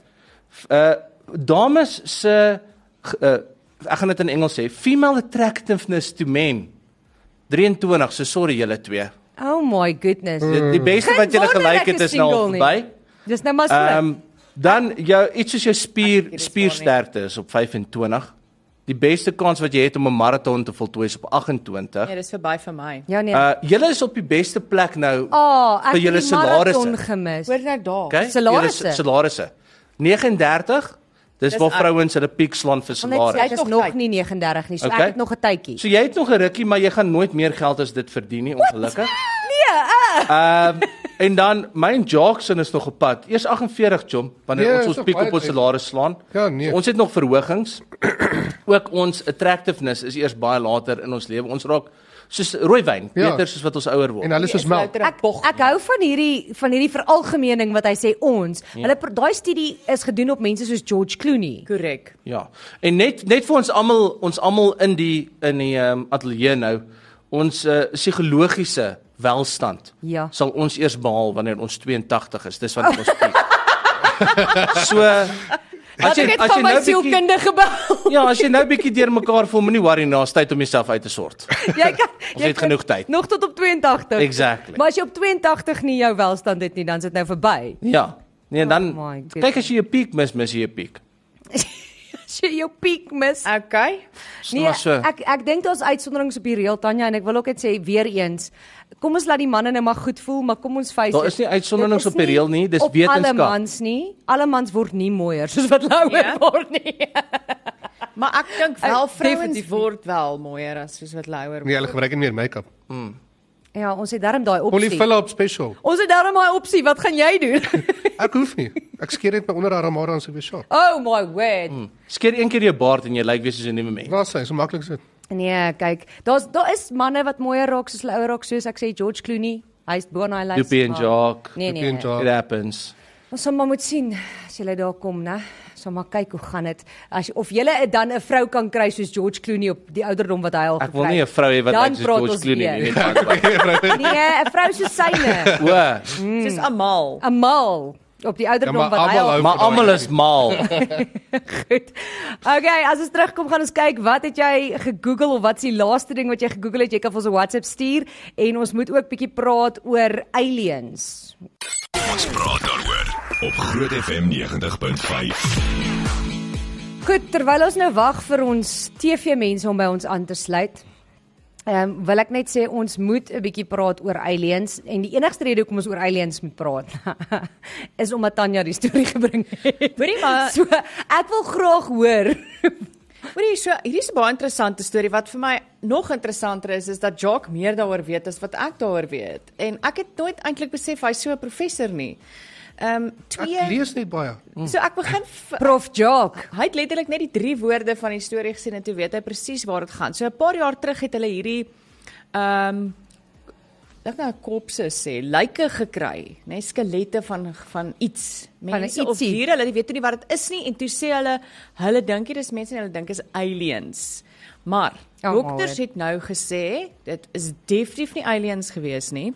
C: Uh dames se g- uh, ek gaan dit in Engels sê, female attractiveness to men. 23, so sorry julle twee.
B: Oh my goodness.
C: Die, die beste
B: Geen
C: wat julle
B: wonder ek
C: gelyk het
B: is
C: is nou al
B: single nie.
C: verby.
B: Dis nou maar so.
C: Ehm dan jou iets soos jou spier
E: Ek weet dit
C: spiersterkte is op 25. Die beste kans wat jy het om 'n maraton te voltooi is op 28.
E: Nee, dis verby vir my.
B: ja nee.
C: Uh julle is op die beste plek nou
B: Ah, oh, ek het
C: vir julle
B: die maraton
C: salarisse.
B: gemis.
E: Hoor nou daar.
C: Okay?
B: Salarisse.
C: Julle s- salarisse. 39. Dis
E: Dis
C: waar
E: ek.
C: vrouens hulle piek slaan vir
B: Wil net
C: salarisse.
B: sê ek
E: Jy
B: is
E: het nog
B: nog
E: tyd.
B: nie 39 nie. So
C: Okay.
B: ek het nog 'n tydjie.
C: So jy het nog 'n rukkie, maar jy gaan nooit meer geld as dit verdien nie, ongelukkig.
B: nee, uh.
C: Ehm en dan myn Jackson is nog op pad. Eers 48 jom wanneer
D: Nee,
C: ons
D: is
C: ons
D: nog
C: piek
D: baie
C: op ons
D: tyd.
C: salaris slaan.
D: Ja, nee.
C: Ons het nog verhogings. Ook ons attractiveness is eers baie later in ons lewe. Ons raak soos rooiwyn,
D: Ja.
C: beter soos wat ons ouer word.
D: En hulle is
E: Hier
D: soos melk.
E: louter 'n
B: Ek
E: bog.
B: ek hou van hierdie van hierdie veralgemening wat hy sê ons.
C: Ja.
B: Hulle per- daai studie is gedoen op mense soos George Clooney.
E: Korrek.
C: Ja. En net net vir ons almal, ons almal in die in die um, ateljee nou, ons uh, psigologiese welstand
B: Ja.
C: sal ons eers behaal wanneer ons 82 is. Dis wanneer ons
B: [LAUGHS]
C: piek. so as
B: Wat
C: jy
B: ek het
C: as jy
B: van my
C: nou bietjie
B: sielkundige
C: [LAUGHS]
B: bel.
C: Ja, as jy nou bietjie deurmekaar voel, moenie worry na, is tyd om jouself uit te
B: [LAUGHS]
C: sort.
B: jy kan
C: Ons het genoeg tyd.
B: Nog tot op 82.
C: Exactly.
B: Maar as jy op 82 nie jou welstand het nie, dan is dit nou verby. [LAUGHS]
C: Ja. Nee, en dan
B: Oh my goodness.
C: kyk as jy jou piek mis, mis jy jou piek.
B: As jy jou piek mis.
E: Okay.
C: So,
B: Nee,
C: maar so.
B: ek ek dink daar's uitsonderings op die reël Tanya en ek wil ook net sê weer eens, kom ons laat die manne nou maar goed voel, maar kom ons face
C: Daar
B: it,
C: is nie uitsonderings
B: dit is
C: op die reël nie, dis
B: op Alle
C: wetenskap.
B: mans nie, alle mans word nie mooier soos wat hulle ouer
E: Ja.
B: [LAUGHS] word nie.
E: Maar ek dink wel
B: Ek-
E: vrouens
B: definitief nie.
E: word wel mooier as soos wat louer word.
D: Nee, hulle gebruik nie meer make-up.
B: Ja, ons het darm daai
D: Polly
B: opsie.
D: Phillip special.
B: Ons het darm daai opsie, wat gaan jy
C: [LAUGHS]
B: doen?
D: Ek hoef nie. Ek skeer net my onderarm maar aan sy weer shop.
B: oh my word.
C: Hmm. Skeer een keer jou baard en jy lyk weer soos 'n nuwe mens.
D: Waar sy, so maklik so.
B: Nee, kyk, daar's daar is manne wat mooier raak soos hulle ouer raak, soos ek sê George Clooney, hy's bo aan hy lys.
C: Doopie en
B: maar-
C: Jacques,
B: Nee,
D: Doopie en
B: nee.
D: Jacques.
C: It happens.
B: Ons sal maar moet sien as jy daar kom, né? Sal maar kyk hoe gaan dit. As of jy dan 'n vrou kan kry soos George Clooney op die ouderdom wat hy al gekry
C: Ek wil nie 'n vrou hê wat
B: Dan
C: lyk soos
B: praat
C: George
B: ons
C: Clooney
B: weer.
C: nie. [LAUGHS] net
B: Nee, 'n vrou soos syne,
C: [LAUGHS] maar- O,
E: [LAUGHS]
D: Mm.
E: Soos almal.
B: 'n mal op die
D: Ja,
B: ouderdom
D: maar
B: wat hy
D: almal
B: al
D: hou
C: maar almal is mal.
B: [LAUGHS] goed. Okay, as ons terugkom gaan ons kyk wat het jy gegoogel of wat is die laaste ding wat jy gegoogel het? Jy kan vir ons 'n WhatsApp stuur en ons moet ook bietjie praat oor aliens.
A: Ons praat daaroor op Groot FM 90.5.
B: Goed, terwyl ons nou wag vir ons TV-mense om by ons aan te sluit. Ehm um, wil ek net sê ons moet 'n bietjie praat oor aliens en die enigste rede hoekom ons oor aliens moet praat [LAUGHS] is omdat Tanya die storie [LAUGHS] gebring het.
E: Hoorie, maar-
B: so ek wil graag hoor. [LAUGHS]
E: Hoorie, so hierdie is 'n baie interessante storie wat vir my nog interessanter is is dat Jacques meer daaroor weet as wat ek daaroor weet. En ek het nooit eintlik besef hy's so 'n professor nie. Ehm um,
D: Ek
E: twee
D: lees net baie.
E: So ek begin v-
B: Prof Jock.
E: Hy het letterlik net die drie woorde van die storie gesien en toe weet hy presies waar dit gaan. So 'n paar jaar terug het hulle hierdie ehm ek nou kopse sê, lyke gekry, nê, skelette van van iets,
B: Van 'n
E: mense of
B: ietsie.
E: diere, hulle weet nie wat dit is nie en toe sê hulle hulle dink dit is mense en hulle dink is aliens. Maar
B: Oh,
E: oh, dokters
B: my
E: het nou gesê dit is definitief nie aliens gewees nie.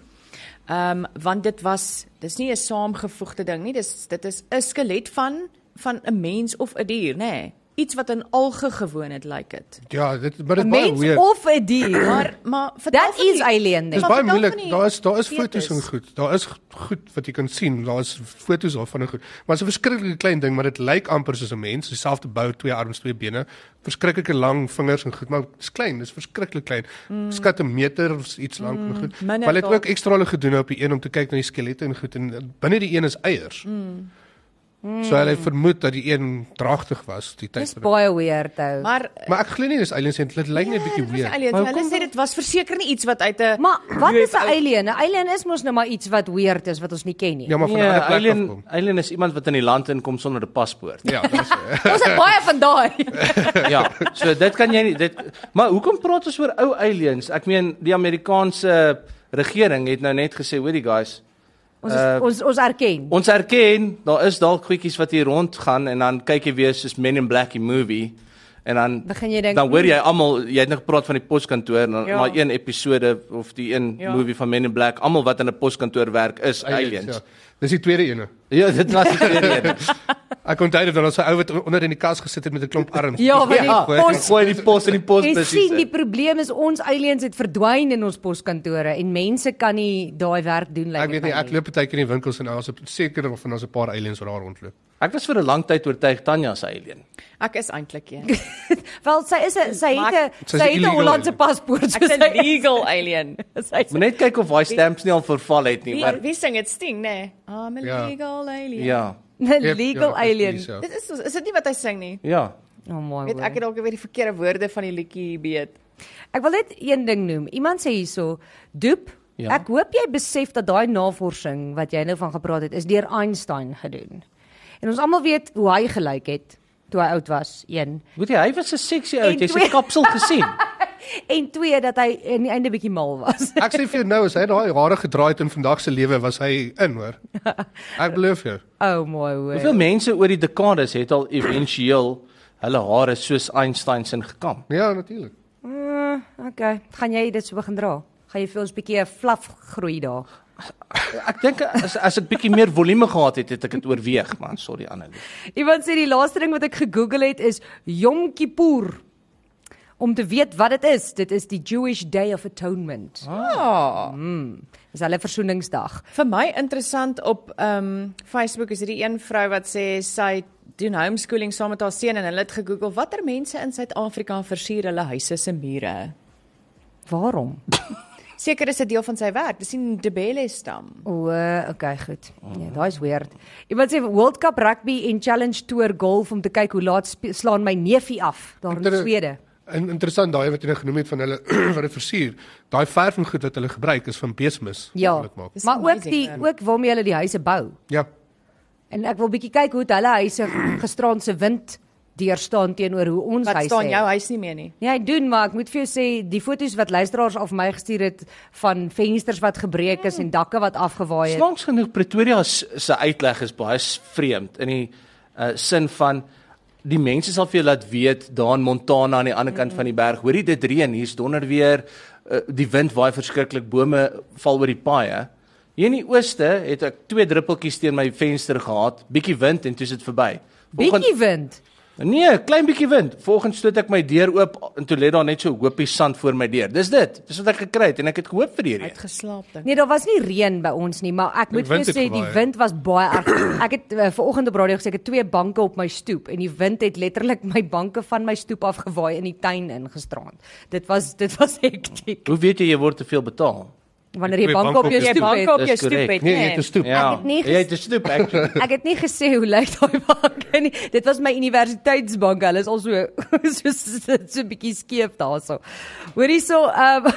E: Ehm um, want dit was dis nie 'n saamgevoegde ding nie. Dis dit is 'n skelet van van 'n mens of 'n dier, nê? Nee. Iets wat in alge gewoon het lyk
D: [CLEARS THROAT]
E: like dit.
D: Ja, dit maar dit
B: 'n
D: is baie
B: Mens
D: weird.
B: of 'n
D: [CLEARS THROAT]
B: dier.
E: Maar maar vertel
B: That
E: van die-
B: is alien ding.
D: Dit is
E: Maar
D: baie
E: vertel
D: moeilik.
E: van die
D: Daar is daar is
E: fetus.
D: fotos en goed. Daar is goed wat jy kan sien. Daar is fotos daarvan en goed. Maar dit is 'n verskriklike klein ding, maar dit lyk amper soos 'n mens, dieselfde bou, twee arms, twee bene, verskriklike lang vingers en goed, maar dit is klein, dit is verskriklik klein. Mm. Skat 'n meter of iets lank en goed.
E: Mm, minder
D: Maar hulle het ook
E: dalk.
D: ekstra hulle gedoen op die een om te kyk na die skelette en goed en binne die een is eiers. Mm.
E: Mm.
D: So hulle het vermoed dat die een dragtig was die tyd.
B: Dis baie weird ou.
E: Maar
D: Maar ek glo nie dis aliens nie. Dit lyk net 'n bietjie
E: Ja, dit was
D: weird.
E: aliens. Hulle sê dit was verseker nie iets wat uit 'n
B: Maar wat is 'n
E: UFO
B: alien? 'n Alien is mos nou maar iets wat weird is wat ons nie ken nie.
D: Ja, maar van 'n
C: Nee,
D: ander plek af
C: Eileen,
D: kom.
C: Eileen is iemand wat in die land inkom sonder 'n paspoort.
D: Ja, dis
B: Ons het baie van
D: [LAUGHS]
B: daai.
C: Ja. So dit kan jy nie dit maar hoekom praat ons oor ou aliens? Ek meen die Amerikaanse regering het nou net gesê, hoorie guys,
B: Ons
D: Eh,
B: is, ons ons erken.
C: Ons erken daar is dalk goedjies wat hier rondgaan en dan kyk jy weer soos Men in Black die movie en dan
B: Begin jy dink, hmm.
C: dan hoor jy almal jy het nou gepraat van die poskantoor en dan
E: Ja.
C: ja. maar een episode of die een
E: Ja.
C: ja. movie van Men in Black almal wat in 'n poskantoor werk is aliens.
D: Ja. Dis die tweede ene.
C: Ja, ja dit was [LAUGHS] die tweede een.
D: Ek onthou dit dan as 'n ou wat onder in die kas gesit het met 'n
B: [LAUGHS]
D: klomp arms.
B: Ja, want die
C: Ja,
B: pos-
C: gooi die pos in die
B: Jy
C: posbus.
B: sien die probleem is ons aliens het verdwyn in ons poskantore en mense kan nie daai werk doen lyk
D: Ek weet
B: my
D: nie, ek loop baie keer in die winkels en daar's 'n- seker of daar's 'n paar aliens wat daar rondloop.
C: Ek was vir 'n lang tyd oortuig Tanya se alien.
E: Ek is eintlik een.
B: Wel sy is 'n sy
E: Maar
B: het 'n sy
D: sy is
B: het 'n
D: illegal
B: Hollandse
D: alien.
B: paspoort so
E: Ek's
B: [LAUGHS]
E: 'n
B: sy
E: legal [LAUGHS] alien.
B: sy
C: Moet net kyk of daai stamps nie al verval het nie,
E: Wie
C: maar
E: wie sing dit sting, nê? Nee? I'm a
D: Ja.
E: legal alien.
C: ja.
B: 'n
D: Ja,
B: legal
D: ja,
B: alien.
D: presies, ja.
E: Dit is is dit nie wat hy sing nie.
C: Ja.
B: Oh my
E: Weet ek het
B: god.
E: dalk weer die verkeerde woorde van die liedjie weet.
B: Ek wil net een ding noem. Iemand sê hierso, "Doep,
C: Ja.
B: ek hoop jy besef dat daai navorsing wat jy nou van gepraat het, is deur Einstein gedoen." En ons almal weet hoe hy gelyk het toe hy oud was, een.
C: Weet jy, hy was 'n seksie ou,
B: En
C: jy's sy
B: twee- [LAUGHS]
C: kapsel gesien.
B: en twee dat hy aan die einde bietjie mal was. [LAUGHS]
D: Ek sê vir jou nou as hy daai hare gedraai het in vandag se lewe was hy in hoor.
B: [LAUGHS]
D: Ek beloof jou.
B: Oh my word.
C: Hoeveel mense oor die dekades het al éventueel hulle hare soos Einstein se ingekam?
D: Ja, natuurlik.
B: Mm, okay, gaan jy dit so begin dra? Gaan jy vir ons bietjie 'n flaf groei daar?
C: Ek dink as as ek bietjie meer volume gehad het, het ek dit oorweeg, maar sorry Annelie.
B: Iemand sê die laaste ding wat ek gegoogel het is Yom Kippur. Om te weet wat dit is, dit is die Jewish Day of Atonement.
C: Ah.
E: Ja.
B: Dis hulle versoeningsdag.
E: Vir my interessant op um Facebook is hierdie een vrou wat sê sy doen homeschooling saam met haar seun en hulle het gegoogel watter mense in Suid-Afrika versier hulle huise se mure.
B: Waarom?
E: Seker is dit deel van sy werk. Dis nie Ndebele stam.
B: O, okay, goed. Ja, daai is weird. Iemand sê World Cup rugby en Challenge Tour golf om te kyk hoe laat spe- slaan my neefie af daar in
D: Inter-
B: Swede.
D: En interessant daai wat jy nou genoem het van hulle [CLEARS THROAT] wat dit versuur. Daai verf en goed wat hulle gebruik is van besmis.
B: Ja.
D: wat hulle maak.
E: Dis
B: Maar ook
E: amazing,
B: die
E: man.
B: ook waarmee hulle die huise bou.
D: Ja.
B: En ek wil bietjie kyk hoe het hulle huise gisteraan se wind deurstaan teenoor hoe ons
E: Wat
B: huise.
E: staan jou huis nie meer nie.
B: Ja, ek doen, maar ek moet vir jou sê die foto's wat luisteraars af my gestuur het van vensters wat gebreek is en dakke wat afgewaai het.
C: Snaaks genoeg Pretoria s- se uitleg is baie s- vreemd in die uh, sin van die mense sal vir jou laat weet daar in Montana aan die ander kant van die berg, hoorie dit reën, hier's donder weer, uh, die wind waai verskriklik, bome val oor die paaie. Hier in die ooste het ek twee druppeltjies teen my venster gehad, bietjie wind en toe is dit verby. Volgende-
B: Bietjie wind.
C: Nee, klein bietjie wind. Volgens stoot ek my deur oop en toe lê daar net so 'n hoopie sand voor my deur. Dis dit. Dis wat ek gekry het en ek het gehoop vir hierdie.
E: Uitgeslaap dink.
B: Nee, daar was nie reën by ons nie, maar ek moet vir
D: wind
B: jou
D: het
B: sê die
D: gewaaai.
B: wind was baie erg. [CLEARS THROAT] Ek het uh, ver oggend op radio gesê ek het twee banke op my stoep en die wind het letterlik my banke van my stoep af gewaaai in die tuin ingestraand. Dit was dit was [LAUGHS] hektiek.
C: Hoe weet jy jy word te veel betaal?
B: Wanneer jy
D: Twee
B: banke op jou
E: Jy
D: stoep
B: stoep
E: bank
B: het.
E: op jou
C: Dis
E: stoep
C: korrek.
E: het.
D: Nee, jy het 'n stoep.
C: Ja.
B: het nie ges-
C: Jy het 'n stoep actually. [LAUGHS]
B: Ek het nie gesê hoe lyk daai banke nie. Dit was my universiteitsbank. Hulle is al so [LAUGHS] so so, so bietjie skeef daarso. Hoor hierso, ehm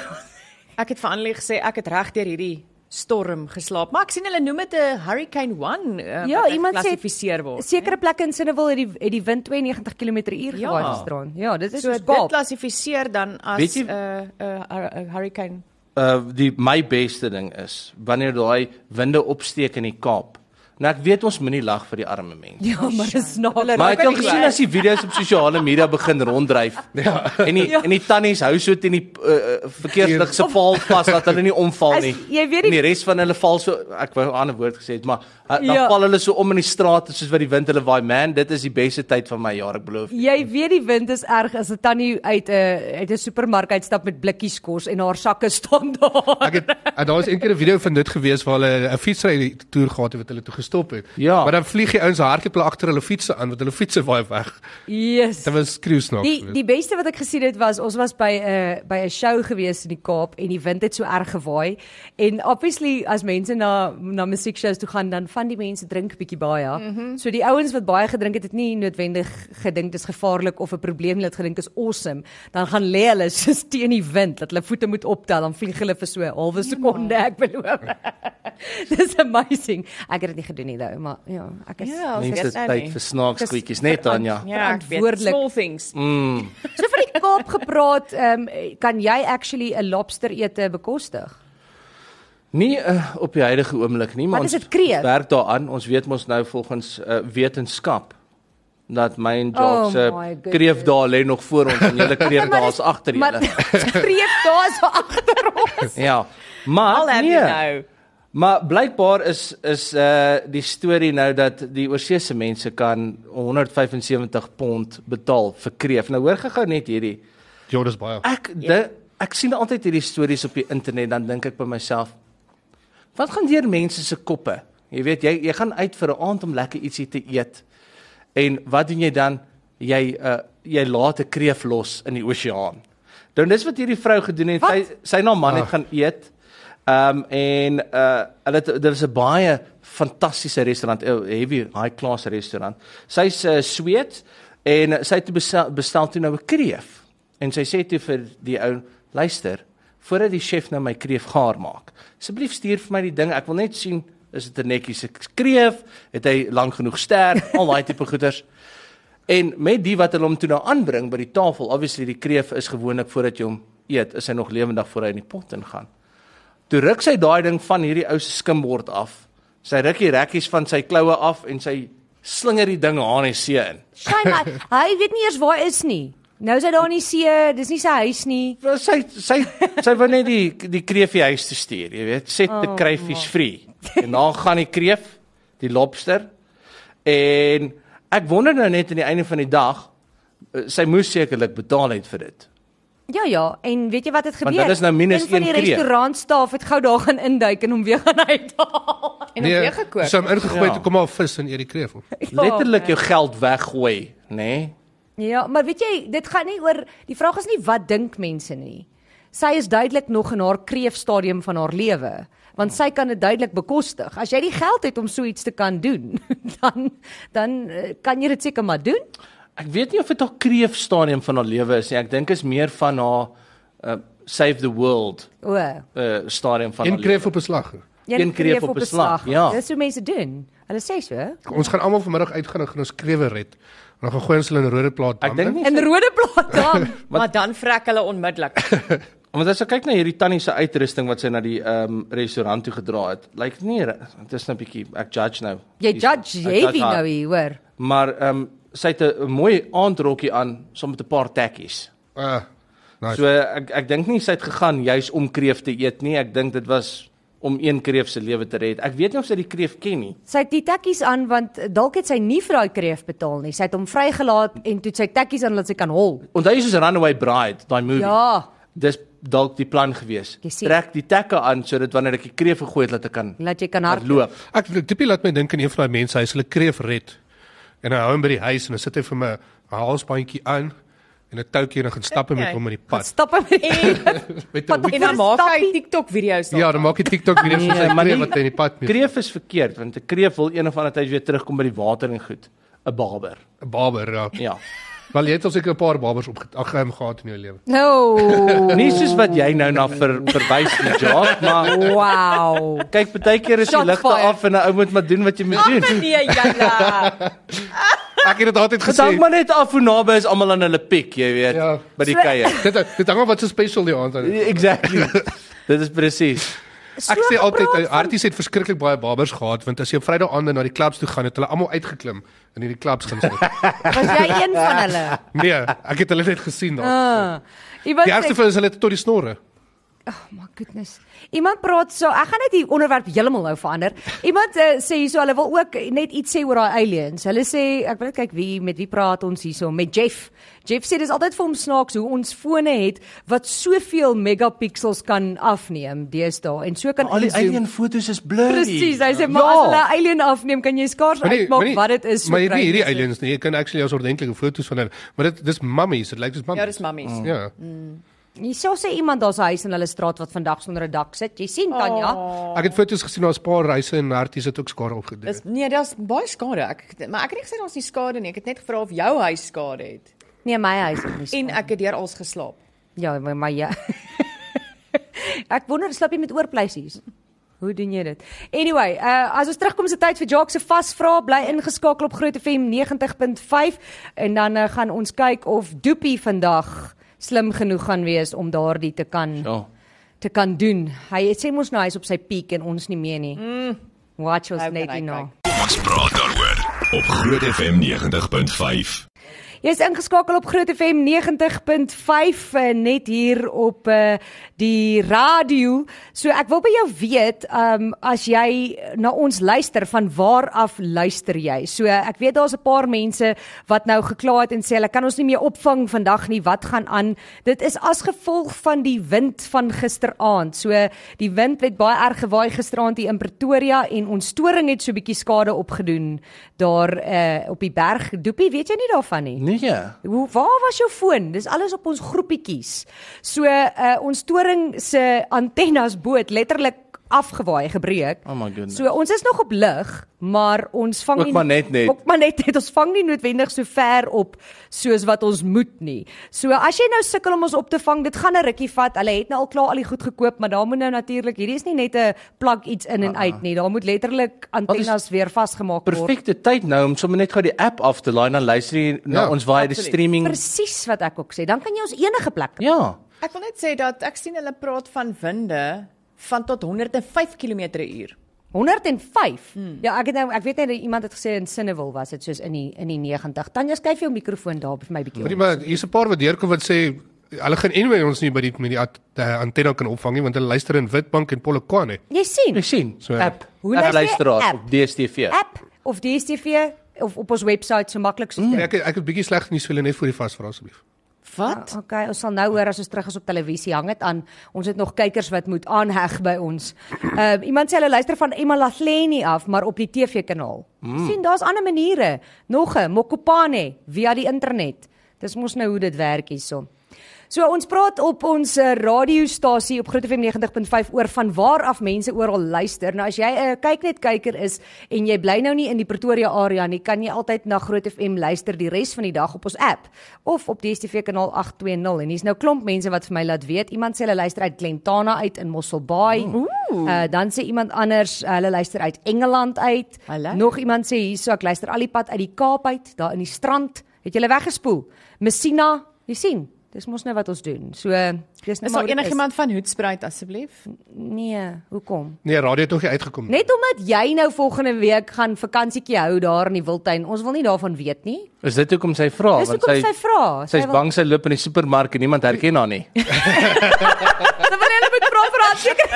E: Ek het vir Annelie gesê ek het reg deur hierdie storm geslaap, maar ek sien hulle noem dit 'n Hurricane 1 uh,
B: ja,
E: wat
B: iemand sê
E: geklassifiseer word.
B: Sekere plekke in Sinneville het die het die wind 92 km/h
E: Ja.
B: gewaai gisteraan. Ja, dit is
E: So
B: so
E: dit
B: Kaap.
E: klassifiseer dan as
C: Weet jy-
E: 'n 'n uh, Hurricane.
C: uh die my beste ding is wanneer daai winde opsteek in die Kaap. Nou ek weet ons moenie lag vir die arme mense.
B: Ja, maar dis snaaks.
C: Maar
E: raak
C: ek het al
E: ook nie
C: gesien
E: weg.
C: as die video's op sosiale media begin ronddryf. Ja. En die en die tannies hou so teen die uh, uh, verkeerslig se paal vas dat hulle nie omval
B: As-
C: nie.
B: jy weet die-
C: en die res van hulle val so ek wou 'n ander woord gesê het, maar uh, dan
B: Ja.
C: ja. val hulle so om in die strate soos wat die wind hulle waai. Man, dit is die beste tyd van my jaar, ek beloof.
B: Jy weet die wind is erg as 'n tannie uit 'n uit 'n supermark uitstap met blikkies kos en haar sakke staan daar.
D: Ek het en daar is eendag 'n video van dit gewees waar hulle 'n fietsry toer gehad het wat hulle toe gestop het.
C: Ja.
D: Maar dan vlieg die ouens hardloop hulle agter hulle fietsse aan want hulle fietsse waai weg.
B: Yes.
D: Dit was skreeu snaaks.
B: Die
D: geweest.
B: die beste wat ek gesien het was ons was by 'n by 'n show gewees in die Kaap en die wind het so erg gewaai en obviously as mense na na musiekshows toe gaan dan van die mense drink bietjie baie. Mm -hmm. So die ouens wat baie gedrink het het nie noodwendig gedink dis gevaarlik of 'n probleem hulle het gedink is awesome. Dan gaan lê hulle [LAUGHS] soos teen die wind dat hulle voete moet optel dan vlieg hulle vir so 'n halwe sekonde ek beloof. [LAUGHS] Dis amazing. Ek het dit nie gedoen nie though, maar ja, ek is
E: Ja, ons
C: Mense
E: weet nou
C: tyd
E: nie.
C: vir snaaks
B: Dis
C: goedjies, net Tanya.
E: Ja, ek weet.
B: verantwoordelik.
E: Small things.
B: So vir die Kaap gepraat, ehm um, kan jy actually 'n lobster ete bekostig?
C: Nie uh, op die huidige oomblik nie, maar
B: Wat is
C: ons
B: dit, kreef?
C: werk daaraan. Ons weet mos nou volgens uh, wetenskap dat my en
B: Oh
C: Jacques se
B: my goodness.
C: kreef daar lê nog voor ons en
B: [LAUGHS]
C: julle kreef daar is agter
B: Maar
C: julle.
B: [LAUGHS] skreef daar so agter ons.
C: Ja.
E: Al
C: Maar
E: heb jy
C: nee.
E: nou.
C: Maar blykbaar is is uh die storie nou dat die oorseese mense kan 175 pond betaal vir kreef. Nou hoor gou-gou net hierdie.
D: Ja, dis baie.
C: Ek yeah. ek sien altyd hierdie stories op die internet dan dink ek by myself wat gaan deur mense se koppe? Jy weet jy jy gaan uit vir 'n aand om lekker ietsie te eet. En wat doen jy dan? Jy uh jy laat 'n kreef los in die oseaan. Nou dis wat hierdie vrou gedoen het. Sy sy na man het
D: Ah.
C: gaan eet. Ehm um, en uh hulle het- daar was 'n baie fantastiese restaurant, 'n heavy high class restaurant. Sy's uh, Sweed en sy het toe bestel, bestel toe nou 'n kreef. En sy sê toe vir die ou, luister, voordat die chef nou my kreef gaar maak, asseblief stuur vir my die ding. Ek wil net sien is dit 'n netjie se kreef? Het hy lank genoeg sterf? Al daai tipe goeders. En met die wat hulle hom toe nou aanbring by die tafel, obviously die kreef is gewoonlik voordat jy hom eet, is hy nog lewendig voor hy in die pot ingaan. Toe ruk sy daai ding van hierdie ou se skimbord af. Sy ruk die rekkies van sy kloue af en sy slinger die ding haar in die see in.
B: Sy maar hy weet nie eers waar is nie. Nou is hy daar in die see, dis nie sy huis nie.
C: Wel, Sy sy sy wou net die die kreefie huis toe stuur, jy weet, set the crayfish free. En dan gaan die kreef, die lobster. En ek wonder nou net aan die einde van die dag eh, sy moes sekerlik betaal het vir dit.
B: Ja ja, en weet jy wat het gebeur?
C: dit is nou minus
B: een van die
C: een kreef.
B: restaurantstaaf het gou daar gaan induik en hom weer gaan uithaal.
E: En nee, weer gekoop.
D: Sy het hom ingegooi
C: Ja.
D: toe kom haar vis en eet die kreef op.
B: Ja,
C: Letterlik jou geld weggooi, nê? Nee?
B: Ja, maar weet jy, dit gaan nie oor die vraag is nie wat dink mense nie. Sy is duidelik nog in haar kreefstadium van haar lewe, want sy kan dit duidelik bekostig. As jy die geld het om so iets te kan doen, [LAUGHS] dan dan eh, kan jy dit seker maar doen.
C: Ek weet nie of dit haar kreefstadium van haar lewe is nie. Ek dink is meer van haar uh, save the world
B: O, een
C: uh, stadium van
D: Een
C: haar lewe.
D: kreef op 'n slag.
C: Een kreef op 'n
B: een
C: slag, ja. Nee,
B: Dis hoe mense doen. Hulle sê so.
D: Ons gaan almal vanmiddag uitgaan en gaan ons krewe red. En dan gaan gooi ons hulle in 'n rode plaat
C: Ek dink nie
B: In rode plaat dan.
C: [LAUGHS]
E: maar dan vrek hulle onmiddellik.
C: Want as jy kyk na hierdie tannie se uitrusting wat sy na die ehm um, restaurant toe gedra het, lyk like, nie re- dit is nou 'n bietjie ek judge nou.
B: Jy
C: Ek
B: judge
C: judge
B: heavy
C: haar.
B: nou hier, hoor.
C: Maar ehm um, sy het 'n mooi aandrokkie aan saam met 'n paar tekkies.
D: Ah. Nice.
C: So ek ek dink nie sy het gegaan juis om kreef te eet nie. Ek dink dit was om een kreef se lewe te red. Ek weet nie of sy die kreef ken nie.
B: Sy het die tekkies aan want eh, dalk het sy nie vir daai kreef betaal nie. Sy het hom vrygelaat en toe het sy tekkies aan dat sy kan hol.
C: Onthou jy soos Runaway Bride, daai movie?
B: Ja.
C: Dis dalk die plan gewees.
B: Jy sien.
C: Trek die tekke aan sodat wanneer ek die kreef gegooi het, laat ek kan
B: Laat jy kan
C: laat
B: hardloop.
C: loop.
D: Ek tipie laat my dink aan een van daai mense, hy is hulle kreef red. En hy hou hom by die huis en dan sit hy vir my 'n halsbandjie aan en 'n toutjie en dan gaan stap hy met hom in die
B: Gaan
D: pad.
B: Stap [LAUGHS] hom in.
D: Met 'n
B: Pad-
D: hoed.
E: En dan maak hy
B: Stappie.
E: TikTok video's daarvan.
D: Ja, dan maak hy TikTok video's van sy
C: maar
D: kreef
C: nie-
D: wat hy in die pad met
C: Kreef is verkeerd want 'n kreef wil een of ander tyd weer terugkom by die water en goed. 'n Barber.
D: 'n barber. Ja.
C: Ja.
D: Wel jy het al seker 'n paar barbers op ag ehm, gehad in jou lewe.
B: [LAUGHS] No.
C: Nie soos wat jy nou na ver, verwys nie, Jacques, maar
B: [LAUGHS] Wow.
C: kyk baie keer is die
B: Shot
C: ligte
B: fire.
C: af en 'n ou moet maar doen wat jy moet doen.
E: Nee, Jana.
D: Ek het dit altyd
C: Gedank maar
D: gesê.
C: net af hoe naby is almal aan hulle piek, jy weet,
D: Ja.
C: by die kuier.
D: Dit dit hang af wat se special die aand aan.
C: [LAUGHS] Exactly. Dit is presies.
D: Ek sê altyd eh, Arties het verskriklik baie barbers gehad want as jy op Vrydag aande na die klubs toe gaan het hulle almal uitgeklim in hierdie klubs gaan sit.
B: was jy een van
D: [LAUGHS]
B: hulle?
D: Nee, ek het hulle net gesien daar.
B: Uh,
D: Die
B: iemand
D: ergste
B: sê,
D: vir is hulle het tot die snorre.
B: oh my goodness. Iemand praat so, ek gaan net die onderwerp heeltemal nou verander. Iemand uh, sê hierso hulle wil ook net iets sê oor daai aliens. Hulle sê ek wil net kyk wie met wie praat ons hierso met Jeff. Jeff sê dis altyd vir hom snaaks hoe ons fone het wat soveel megapixels kan afneem deesdae en so kan
C: Al die
B: inzoom.
C: alien foto's is blurry.
B: Presies, hy sê
C: Ja.
B: maar as hulle 'n alien afneem, kan jy skaars
D: nie-
B: uitmaak
D: nie-
B: wat dit is. so
D: Ja. Maar jy het nie
B: klein
D: hierdie
B: is dit.
D: aliens nie. Jy kan actually as ordentlike foto's van hulle. Maar dit dis mummies, dit lyk soos mummies.
E: Ja, dis mammies.
D: Ja.
B: Hierso sê iemand daar's 'n huis in hulle straat wat vandag sonder 'n dak sit. Jy sien Tanya? Oh.
D: Ek het foto's gesien daar's 'n paar reise en harties het ook skare opgedoen.
E: Dis nee, daar's baie skade. Ek maar ek het nie gesê daar's nie skade nie. Ek het net gevra of jou huis skade het.
B: Nee, my huis het nie. so.
E: En ek het deur als geslaap.
B: Ja, maar, maar ja. [LAUGHS] ek wonder slaap jy met oorpleisies? Hoe doen jy dit? Anyway, uh as ons terugkom is dit tyd vir Jacques se vasvra. Bly ingeskakel op Groot FM 90.5 en dan uh, gaan ons kyk of Doopie vandag slim genoeg gaan wees om daardie te kan
C: Ja.
B: te kan doen. Hy het- sê mos nou hy's op sy piek en ons nie meer nie. Mm. Watch
E: Nou
B: ons
E: kan
B: net
E: hy
B: hier nou.
E: kyk.
A: Ons praat daaroor op Groot FM 90.5.
B: Jy's ingeskakel op Groot FM 90.5 eh, net hier op uh, die radio. So ek wil by jou weet, um as jy na ons luister, van waar af luister jy? So ek weet daar's 'n paar mense wat nou gekla het en sê hulle kan ons nie meer opvang vandag nie. Wat gaan aan? Dit is as gevolg van die wind van gisteraand. So die wind het baie erg gewaai gisteraand hier in Pretoria en ons storing het so 'n bietjie skade opgedoen daar uh, op die berg. Doopie, weet jy nie daarvan nie?
C: Nee. ja.
B: Hoe waar was jou foon? Dis alles op ons groepietjies. So uh ons toring se antennes boot letterlik afgewaai, gebreek.
C: Oh my goodness.
B: So ons is nog op lig, maar ons vang
C: Ook maar net net.
B: Ook maar net net ons vang nie noodwendig so ver op soos wat ons moet nie. So as jy nou sukkel om ons op te vang, dit gaan 'n rukkie vat. Hulle het nou al klaar al die goed gekoop, maar daar moet nou natuurlik hierdie is nie net 'n plug iets in en uit nie. Daar moet letterlik antennes weer vasgemaak word.
C: Perfekte tyd nou om sommer net gou die app af te laai en dan luister jy na
D: Ja,
C: ons via die
E: absoluut.
C: streaming.
B: Presies wat ek ook sê. Dan kan jy ons enige plek
C: Ja.
E: Ek wil net sê dat ek sien hulle praat van winde van tot 105 km/h.
B: 105. Ja, ek het nou ek weet net dat iemand het gesê in Sinnewil was dit soos in die in die 90. Tanya skuif jou mikrofoon daar vir my bietjie.
D: Weet jy
B: om.
D: maar hier's 'n paar wat deurkom wat sê hulle gaan anyway ons nie by die met die at- eh, antenna kan opvang nie want hulle luister in Witbank en Polokwane.
B: Jy sien.
C: Ek sien.
D: So-
C: app.
B: Hoe
C: app
B: luister jy?
C: luisteraars
B: App.
C: op DStv.
B: App of DStv of op ons webwerf so maklik soos dit.
D: Ek ek het bietjie sleg nuus vir julle net voor die vasvra asseblief.
E: Wat?
B: Okay, ons sal nou hoor as ons terug is op televisie hang dit aan. Ons het nog kykers wat moet aanheg by ons. Ehm iemand sê hulle luister van Emma Lahleni af, maar op die TV-kanaal. Mm. sien, daar's ander maniere. Nog 'n Mokopane via die internet. Dis mos nou hoe dit werk hierso. So ons praat op ons eh, radiostasie op Groot FM 90.5 oor van waar af mense oral luister. Nou as jy 'n kyk net kyker is en jy bly nou nie in die Pretoria area nie, kan jy altyd na Groot FM luister die res van die dag op ons app of op DStv kanaal 820 en hier's nou klomp mense wat vir my laat weet. Iemand sê hulle luister uit Glentana uit in Mosselbaai. Uh, dan sê iemand anders hulle luister uit Engeland uit.
E: Hallo.
B: Nog iemand sê hierso ek luister al die pad uit die Kaap uit, daar in die strand. Het julle weggespoel? Messina, jy sien, dis mos nou wat ons doen. So dis nou
E: Is Ja,
B: maar
E: daar
B: hoe dit
E: enigiemand van Hoedspruit asseblief?
B: Nee, hoekom?
D: Nee, radio het nog nie uitgekom nie.
B: Net omdat jy nou volgende week gaan vakansietjie hou daar in die Wildtuin. Ons wil nie daarvan weet nie.
C: Is dit hoekom sy vra?
B: Dis hoekom Ja, sy vra.
C: Sy's
B: [LAUGHS]
C: bang sy loop in die supermark en niemand herken haar nie.
B: Dan wil hulle met vra vra seker.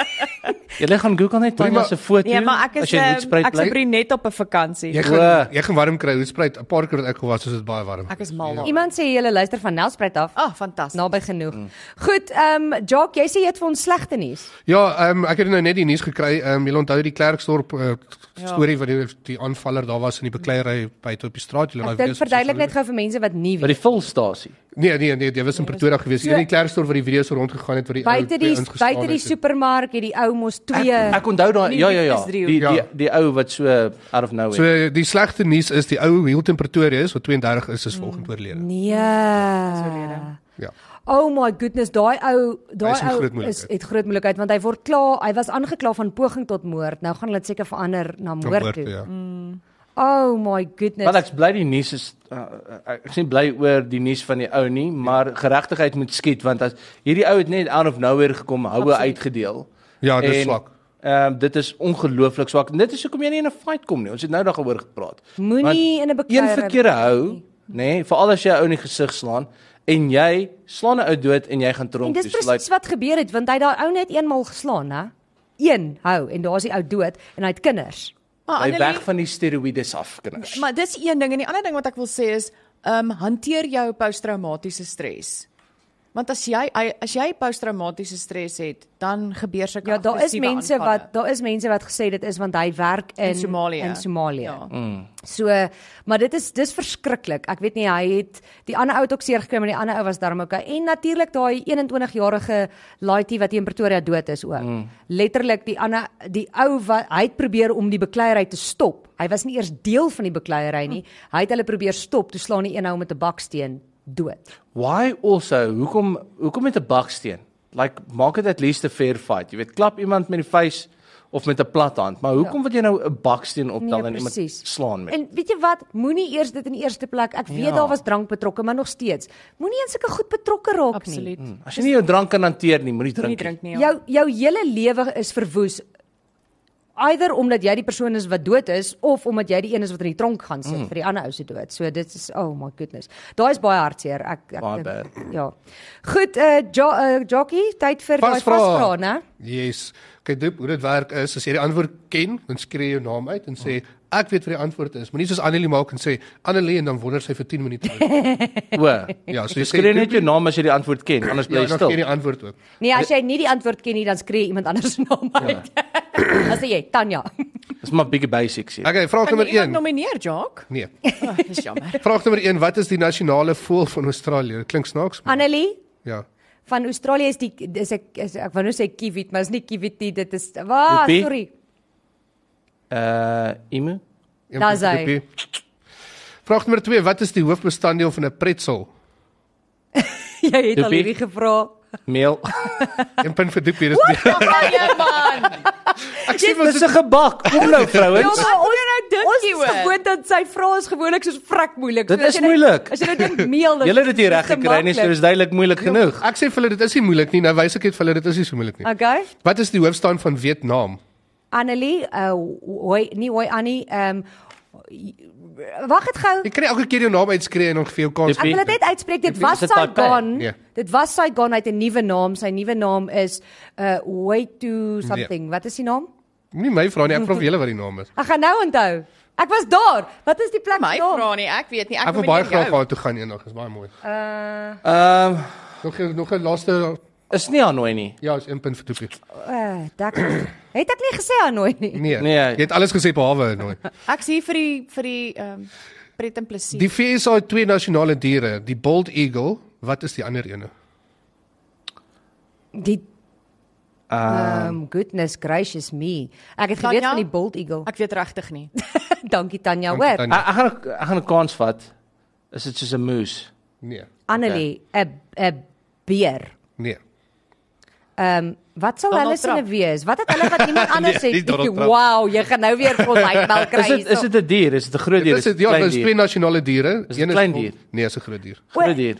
C: Jy gaan Google net Tanya
D: maar-
C: se foto.
E: Nee, maar ek
C: as
E: is
C: jy
E: ehm,
C: moet spruit
E: ek
C: bly.
E: is net op 'n vakansie.
D: Jy
C: Wow.
D: gaan jy gaan warm kry. Hoe spruit 'n paar keer wat ek gewas is dit baie warm.
E: Ek is mal daaroor.
B: Iemand sê jy luister van Nelspruit af.
E: Ah, fantasties.
B: Naby genoeg. Goed, ehm um, Jock, jy sê jy het vir ons slegte nuus.
D: Ja, ehm um, ek het nou net die nuus gekry. Ehm um, jy onthou die Klerksdorp uh,
E: Ja.
D: storie wat die, die aanvaller daar was in die bekleierery buite op die straat. nou Jy
B: Ek dink verduidelik net gou vir mense wat nie
C: by
B: weet.
C: die vulstasie.
D: Nee, nee, nee, jy was in Pretoria gewees. Jy in die Klerksdorp waar die video's rondgegaan het wat die
C: Ja,
D: ou
B: Buite die
D: twee ingeslaan
B: buite die
D: het.
B: supermark het die ou mos twee
C: Ek onthou daai
E: Nie
C: ja ja ja,
E: liefdesdriehoek.
C: die die
D: Ja.
C: die ou wat so eh, out of nowhere.
D: So die slegste nuus is die ou Hilton Pretoria is wat 32 is is
B: Mm.
D: volgend oorlede.
B: Nee.
D: Ja.
B: Oh my goodness, daai ou, daai
D: Hy is in groot
B: ou is
D: moeilikheid.
B: het groot moeilikheid want hy word kla, hy was aangekla van poging tot moord. Nou gaan hulle dit seker verander na moord toe. Mm.
D: ja.
B: Oh my
C: Wel
B: goodness.
C: ek's bly die nuus is uh, ek sien bly oor die nuus van die ou nie, maar geregtigheid moet skied want as hierdie ou het net out of nowhere gekom, houe uitgedeel.
D: Ja, dis
C: En,
D: swak.
C: Ehm dit is ongelooflik swak. En Dit is hoekom jy nie in 'n fight kom nie. Ons het nou daaroor gepraat.
B: Moenie
C: Want
B: in 'n bekeiere-
C: Een verkeerde hou, nê, nee, veral as jy 'n ou in die gesig slaan en jy slaan 'n ou dood en jy
B: Nee.
C: gaan
B: En
C: tronk toe.
B: dis
C: So, like,
B: presies wat gebeur het want hy het daai ou net eenmal geslaan, hè? Een hou en daar's die ou dood en hy het kinders.
E: Maar
C: Hy
E: Ah, Annelie,
C: weg van die steroïdes af, kinders.
E: maar dis een ding en die ander ding wat ek wil sê is, ehm um, hanteer jou posttraumatiese stres. Want as jy as jy posttraumatiese stres het, dan gebeur sulke
B: Ja, daar is
E: aggressiewe
B: mense
E: aanvalle.
B: wat daar is mense wat gesê dit is want hy werk in
E: in Somalië.
B: In Somalië.
E: Ja.
C: Mm.
B: So, maar dit is dis verskriklik. Ek weet nie hy het die ander ou het ook seer gekry, maar die ander ou was darm okay. En natuurlik daai 21-jarige laaitie wat hier in Pretoria dood is ook. Mm. Letterlik die ander die ou wat hy het probeer om die bekleierery te stop. Hy was nie eers deel van die bekleierery nie. Hy het hulle probeer stop, toe slaan die een ou met 'n baksteen dood.
C: Why also? Hoekom hoekom met 'n baksteen? Like maak dit at least 'n fair fight. Jy weet, klap iemand met die vuis of met 'n plat hand, maar hoekom wil jy nou 'n baksteen optel en iemand
B: presies.
C: slaan met?
B: Nee, En weet jy wat, moenie eers dit in eerste plek. Ek weet
C: Ja.
B: daar was drank betrokke, maar nog steeds. Moenie in sulke goed betrokke raak nie.
E: absoluut.
C: As jy nie jou drank kan hanteer nie, moenie Mm. drink
E: Mm. Nie
C: nie.
E: drink nie. Ja.
B: Jou jou hele lewe is verwoes. Either omdat jy die persoon is wat dood is of omdat jy die een is wat in die tronk gaan sit mm. vir die ander ou se dood. So dit is oh my goodness. Daai is baie hartseer. Ek ek
C: Baie
B: dink- ja. Goed, eh uh, jo, uh, Jockey, tyd vir daai
D: Vasvra.
B: vasvra, né?
D: Yes. Kyk dit hoe dit werk is as jy die antwoord ken, dan skree jy jou naam uit en sê ek weet wat die antwoord is. Moenie soos Annelie maak en sê Annelie en dan wonder sy vir 10
B: [LAUGHS]
D: minute. oud.
C: O.
D: Ja, so
C: Jy
D: jy sê
C: skree net jou naam as jy die antwoord ken, anders bly
D: Ja,
C: jy
D: dan gee jy
C: stil.
D: die antwoord ook.
B: Nee, as jy nie die antwoord ken nie, dan skree iemand anders [LAUGHS] se naam uit.
C: Ja.
B: Dan sê jy Tanya.
C: Dis maar big basics hier.
D: Okay, vraag
E: Kan
D: nommer
E: jy iemand
D: 1.
E: nomineer, Jock?
D: Nee.
E: Oh, dis jammer.
D: Vraag nommer 1, wat is die nasionale voël van Australië? Dit klink snaaks. maar-
B: Annelie
D: Ja.
B: van Australië is die is ek is, ek wou nou sê kiwit, maar is nie kiwit nie, dit is waar,
C: Joepie?
B: sorry. [LAUGHS]
C: Uh, Imu.
D: Een
B: Daar's hy.
D: punt vir Dippie. Vraag nommer 2, wat is die hoofbestanddeel van 'n pretzel?
B: Jy het al
C: Joepie?
B: hierdie gevra.
D: [LAUGHS]
C: Meel.
D: Een punt vir Dippie, dis
E: [LAUGHS] Ja man.
D: Ek sê mos
C: Dis 'n gebak. Kom nou
B: Ja,
C: vrouens.
B: [LAUGHS] maar onder nou Ons
E: dankie
B: is
E: hoor.
B: gewoond aan sy vrae is gewoonlik soos vrek moeilik.
C: Dit
B: So as
C: is
B: jy nou-
C: moeilik.
B: As jy nou dink meel. dan
C: [LAUGHS] Julle het dit hier
B: is
C: reg
B: te
C: gekry, nee, so
B: maklik.
C: is duidelik moeilik genoeg.
D: Ek sê vir hulle dit is nie moeilik nie. Nou wys ek dit vir hulle dit is nie so moeilik nie.
B: Okay.
D: Wat is die hoofstaan van Vietnam?
B: Annelie, uh hoi, nie hoi Annie, ehm um, wag dit gou.
D: Jy kan nie elke keer jou naam uitskree en dan vir jou kans.
C: Ek
B: Ek wil dit net uitspreek. Dit was
C: Is dit Ja. Taipei?
B: Saigon.
D: Nee.
B: Dit was Saigon uit 'n nuwe naam. Sy nuwe naam is uh Hoi
C: Nee.
B: to something. Wat is die naam?
D: Nie my vra nie, ek vra vir julle wat die naam is.
B: Ek gaan nou onthou. Ek was daar. Wat is die plek
E: [LAUGHS] My
B: daar?
E: vra nie, ek weet nie. Ek
D: Ek wil
E: noem
D: baie
E: dit
D: graag
E: jou.
D: daar toe gaan eendag, is baie mooi.
B: Eh,
C: Ehm
D: Nog nog 'n laaste
C: is nie Hanoi nie.
D: ja, is 1 punt vir Toepie.
B: Uh, dak. het ek nie gesê Hanoi nie.
D: Nee.
C: Nee.
D: Jy het alles gesê behalwe nou.
E: Ek's hier vir die vir die ehm um, pret en plesier.
D: Die VS het twee nasionale diere, die bald eagle, wat is die ander
E: Nou,
D: een?
B: Die um goodness gracious me. Ek het geweet
E: Tanya?
B: van die bald eagle. [LAUGHS]
E: Ek weet regtig nie.
B: Dankie Tanya
D: Dankie,
B: hoor.
D: Tanya.
C: Ek ek gaan ek gaan 'n kans vat. Is dit soos 'n moes?
D: Nee.
B: Annelie, 'n 'n beer.
D: Nee.
B: Ehm um, wat sou
E: Donald
B: hulle sinne
E: Trump.
B: wees? Wat het hulle wat niemand anders het?
D: Nee, nie
B: [LAUGHS]
D: Donald Trump.
B: wow, jy gaan nou weer vir ons uitbel kry.
C: Is dit is dit 'n dier? Is dit 'n groot dier?
D: Dit is dit ja,
C: klein
D: dis twee nasionale diere.
C: Is dit klein dier?
D: Nee, is 'n groot dier.
C: groot dier?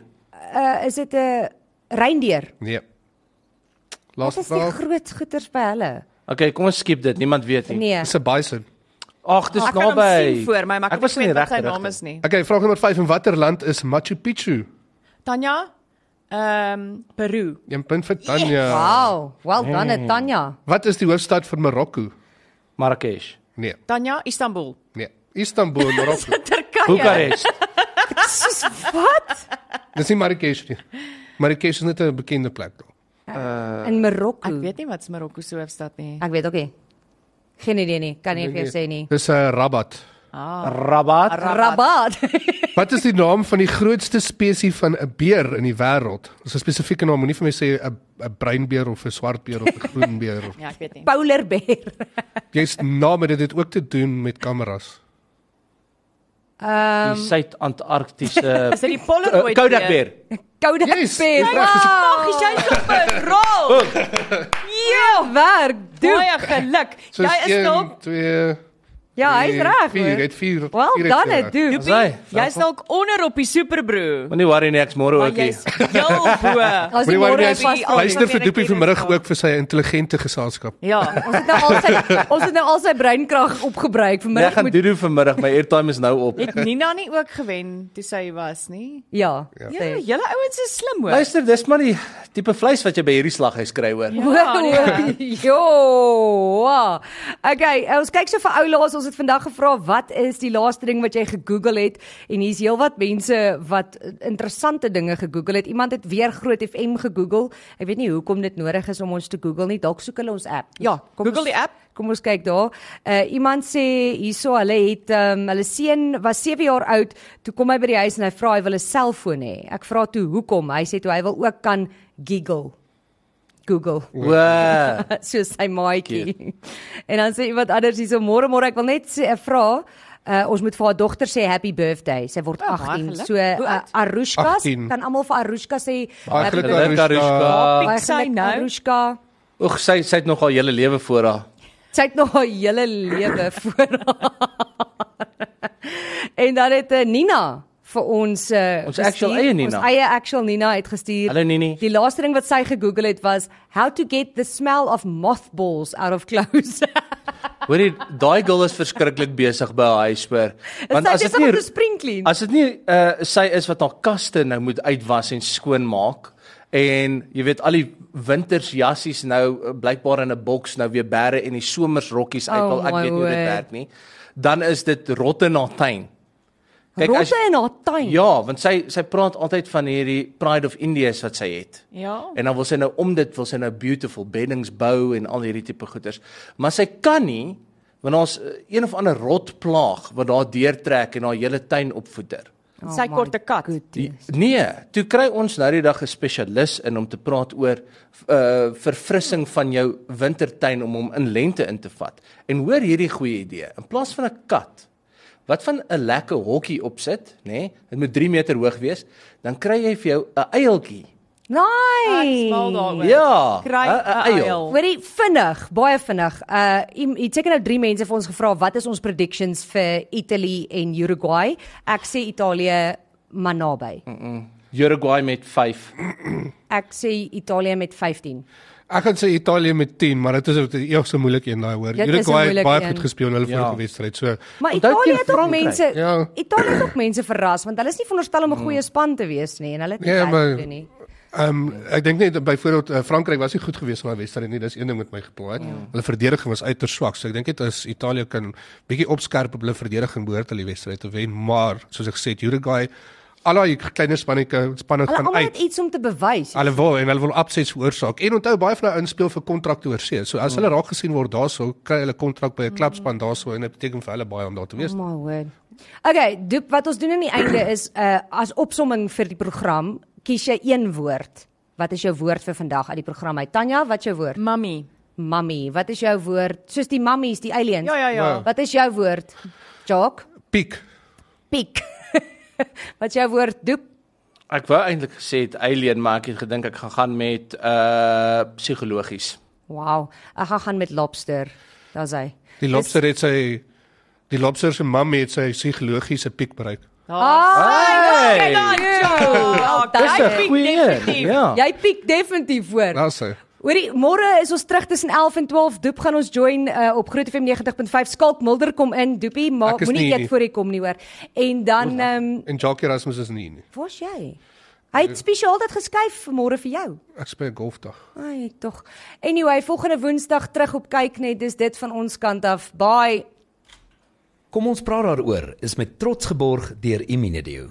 B: uh, is dit 'n reindeer?
D: Nee.
B: Wat
D: Laaste
B: is die
D: vraag.
B: groot goeters by hulle?
C: Okay, kom ons skiep dit. Niemand weet nie.
B: Nee.
D: Dis 'n bison.
C: Ag, dis
E: Ek kan hom
C: naby.
E: sien voor my, maar ek,
C: was
E: weet
C: in die
E: wat sy
C: regte
E: naam is
C: rigting.
E: nie.
D: Okay, vraag nommer 5 in watter land is Machu Picchu?
E: Tanya, ehm um, Peru.
D: 1 punt vir Tanya.
B: Wow, well done mm. Tanya.
D: Wat is die hoofstad van Marokko?
C: Marrakesh.
D: Nee,
E: Tanya, Istanbul.
D: nee.
B: [LAUGHS]
D: Istanbul, Marokko.
E: Turkye.
C: Boekarest.
B: Soos wat?
D: Dis nie Marrakesh nie. Marrakesh is net 'n bekende plek daar.
B: In Marokko.
E: Ek weet nie wat's Marokko se hoofstad nie.
B: Ek ah, weet ook nie. Geen idee nie. Kan nie vir jou sê nie.
D: Dis 'n Rabat.
E: Ja.
C: [LAUGHS]
E: Ah.
C: Rabat.
B: Rabat. [LAUGHS]
D: Wat is die naam van die grootste spesies van 'n beer in die wêreld? Ons 'n spesifieke naam, moenie vir my sê 'n 'n breinbeer of 'n swartbeer of 'n groenbeer.
B: [LAUGHS]
D: of-
E: Ja, ek weet nie.
B: Polar bear.
D: Jy's name dit het ook te doen met kameras.
C: Die Suid-Antarktiese Eh,
E: Um, [LAUGHS] Is dit die
D: Eh,
E: eh, Polaroid?
C: Kodak beer.
B: Koude
D: Yes,
B: beer.
D: jy reg.
B: Wow.
E: Ag, jy is op 'n rol.
D: Oh.
B: Ja, werk. Doen.
E: Baie geluk.
D: So
E: Jy is dalk
D: 2
B: Ja, hy's reg.
D: Nee, Vier,
B: hoor.
D: het vier.
B: Well
D: vier het
B: done,
D: reg.
B: het doen.
C: Sy.
E: jy's dalk onder op die Superbro.
C: Moenie worry nie, ek's môre
E: Maar
C: ook hier. Nee,
E: jy's heel bo.
B: As jy
D: Moenie worry,
B: môre
D: nie,
E: is
B: vas
E: die
D: hy-
E: algemene
D: luister vir Doopie
E: kennis
D: vanmiddag
E: daar.
D: ook vir sy intelligente geselskap.
E: Ja.
B: Ons het nou al sy
D: [LAUGHS]
B: ons het nou al sy breinkrag opgebruik.
C: Ek
B: Vanmiddag
C: gaan
B: moet
C: doodoo vanmiddag. My airtime is nou op.
E: Het Nina nie ook gewen toe sy was nie?
B: ja.
E: Ja,
B: sê.
E: julle ouens is slim hoor.
C: Nee. Luister, dis maar die tipe vleis wat jy by hierdie slaghuis kry hoor.
E: Ja, nee.
B: [LAUGHS] Jo. wa. Okay, eh, ons kyk so vir ou laas. Ons het vandag gevra wat is die laaste ding wat jy gegoogel het en hier's heelwat mense wat eh, interessante dinge gegoogel het. Iemand het weer Groot FM gegoogel. Ek weet nie hoekom dit nodig is om ons te googel nie. Dalk soek hulle ons app. Ja, kom
E: Google
B: ons-
E: die app.
B: Kom ons kyk daar. Uh iemand sê hierso hulle het um, hulle seun was 7 jaar oud, toe kom hy by die huis en hy vra hy wil 'n selfoon hê. Ek vra toe hoekom? Hy sê toe hy wil ook kan giggle. Google
C: Wow.
B: [LAUGHS] soos sy maatjie. en dan sê iemand anders hierso môre môre ek wil net sê- eh, vra Uh, ons moet vir haar dogter sê happy birthday. Sy word
E: Ja, baie
B: 18.
E: geluk.
B: So
E: Hoe
B: uh,
E: oud?
B: Arushka
D: 18.
B: kan almal vir Arushka sê
D: Baie geluk,
B: birthday.
C: Geluk
E: Happy-
C: Karushka.
B: Baie
E: Sy
B: geluk,
E: nou.
B: Arushka.
C: Oeg, sy sy het nog haar hele lewe voor haar.
B: Sy het nog haar hele lewe [LAUGHS] voor haar. en dan het eh, Nina vir ons uh,
C: Ons actual eie Nina.
B: Ons eie actual Nina het gestuur.
C: Hallo, Nini.
B: Die laaste ding wat sy gegoogel het was how to get the smell of mothballs out of clothes. [LAUGHS]
C: Hoorie, daai girl is verskriklik besig by haar huis hoor.
B: [LAUGHS] Want as dit nie te spring clean.
C: as dit nie uh sy is wat haar kaste nou moet uitwas en skoonmaak en jy weet al die wintersjassies nou uh, blykbaar in 'n boks nou weer bære en die somersrokkies uit
B: Oh
C: wil ek
B: my
C: weet nie hoe dit
B: word.
C: werk nie. Dan is dit rotte in haar tuin. as-
B: Rotte in haar tuin.
C: Ja, want sy sy praat altyd van hierdie Pride of India's wat sy het.
E: Ja.
C: En dan wil sy nou om dit wil sy nou beautiful beddings bou en al hierdie tipe goeders. Maar sy kan nie want ons eh, een of ander rot plaag wat daar deurtrek en haar hele tuin opvoeder.
E: Sy kort 'n kat.
C: Die, nee, toe kry ons nou die dag 'n spesialis in om te praat oor uh verfrissing van jou wintertuin om hom in lente in te vat. En hoor hierdie goeie idee. In plaas van 'n kat wat van 'n lekker hokkie opsit, nê? Nee, dit moet 3 meter hoog wees, dan kry jy vir jou 'n eieltjie
E: Ek
B: Nice.
E: smaal daaroor.
C: Ja,
E: Kry
C: 'n- 'n
E: 'n
C: eiel.
E: eiel.
B: Hoorie vinnig, baie vinnig. Uh jy seker nou 3 mense vir ons gevra wat is ons predictions vir Italy en Uruguay? Ek sê Italië maar naby.
C: Uruguay met 5.
B: Ek sê Italië met 15.
D: Ek gaan sê Italië met 10, maar dit is ook die eerste moeilike een daai hoor.
B: Dit is 'n
D: Uruguay het
B: moeilike
D: baie
B: een.
D: goed gespeel in hulle
C: Ja.
D: vorige wedstryd. So
B: Maar
C: Onthou
B: Italië
C: teen
B: het ook
C: Frankryk.
B: mense
D: Ja.
B: Italië het ook mense verras want hulle is nie veronderstel om 'n goeie span te wees nie en hulle het nie
D: Ja,
B: ja,
D: maar-
B: doen nie.
D: Ehm um, ek dink net byvoorbeeld uh, Frankryk was nie goed geweest in daai wedstryd nie. Dis een ding wat my gepla het. Ja. Hulle verdediging was uiters swak. So ek dink net as Italië kan bietjie opskerp op hulle verdediging behoort hulle die wedstryd te wen, maar soos ek sê Uruguay al daai kleiner spannetjie spanne
B: Hulle
D: gaan
B: almal
D: uit.
B: het iets om te bewys.
D: Hulle wil en hulle wil upsets veroorsaak. En onthou baie van hulle inspel vir kontrakte oorsee. So as hulle raak gesien word daarso, kry hulle kontrak by 'n klubspan daarso en dit beteken vir hulle baie om daar te wees.
B: Oh my word. Okay, doop wat ons doen aan die einde is uh as opsomming vir die program, kies jy een woord. Wat is jou woord vir vandag uit die program uit? Tanya, wat is jou woord?
E: Mummy.
B: Mummy. Wat is jou woord? Soos die mummies, die aliens.
E: Ja ja ja.
D: Wow.
B: Wat is jou woord? Jock,
D: Piek.
B: piek. [LAUGHS] wat is jou woord? Doop
C: Ek wou eintlik gesê het alien, maar ek het gedink ek gaan gaan met uh psigologies.
B: Wow, ek gaan gaan met lobster. Daar's hy.
D: Die lobster het sy die lobster se mam het sy psigologiese piek bereik.
E: Ah.
C: Hey!
E: Ja,
B: Dis 'n
E: piek
C: goeie een.
E: definitief.
C: Ja.
B: Jy piek definitief voor.
D: Daar sê.
B: Hoorie, môre is ons terug tussen 11 en 12. Doep gaan ons join uh, op Groot FM 90.5. Skalk Mulder kom in. Doepie, maar
D: Ek is
B: moenie
D: nie-
B: eet voor hy kom nie hoor. En dan ehm um,
D: En Jacques Erasmus is nie nie.
B: waar's jy? Hy het spesiaal dit geskuif môre vir jou.
D: Ek speel golfdag.
B: Ai, tog. Anyway, volgende Woensdag terug op kyk net. Dis dit van ons kant af. Bye.
F: Kom ons praat daaroor is met trots geborg deur Imunedio.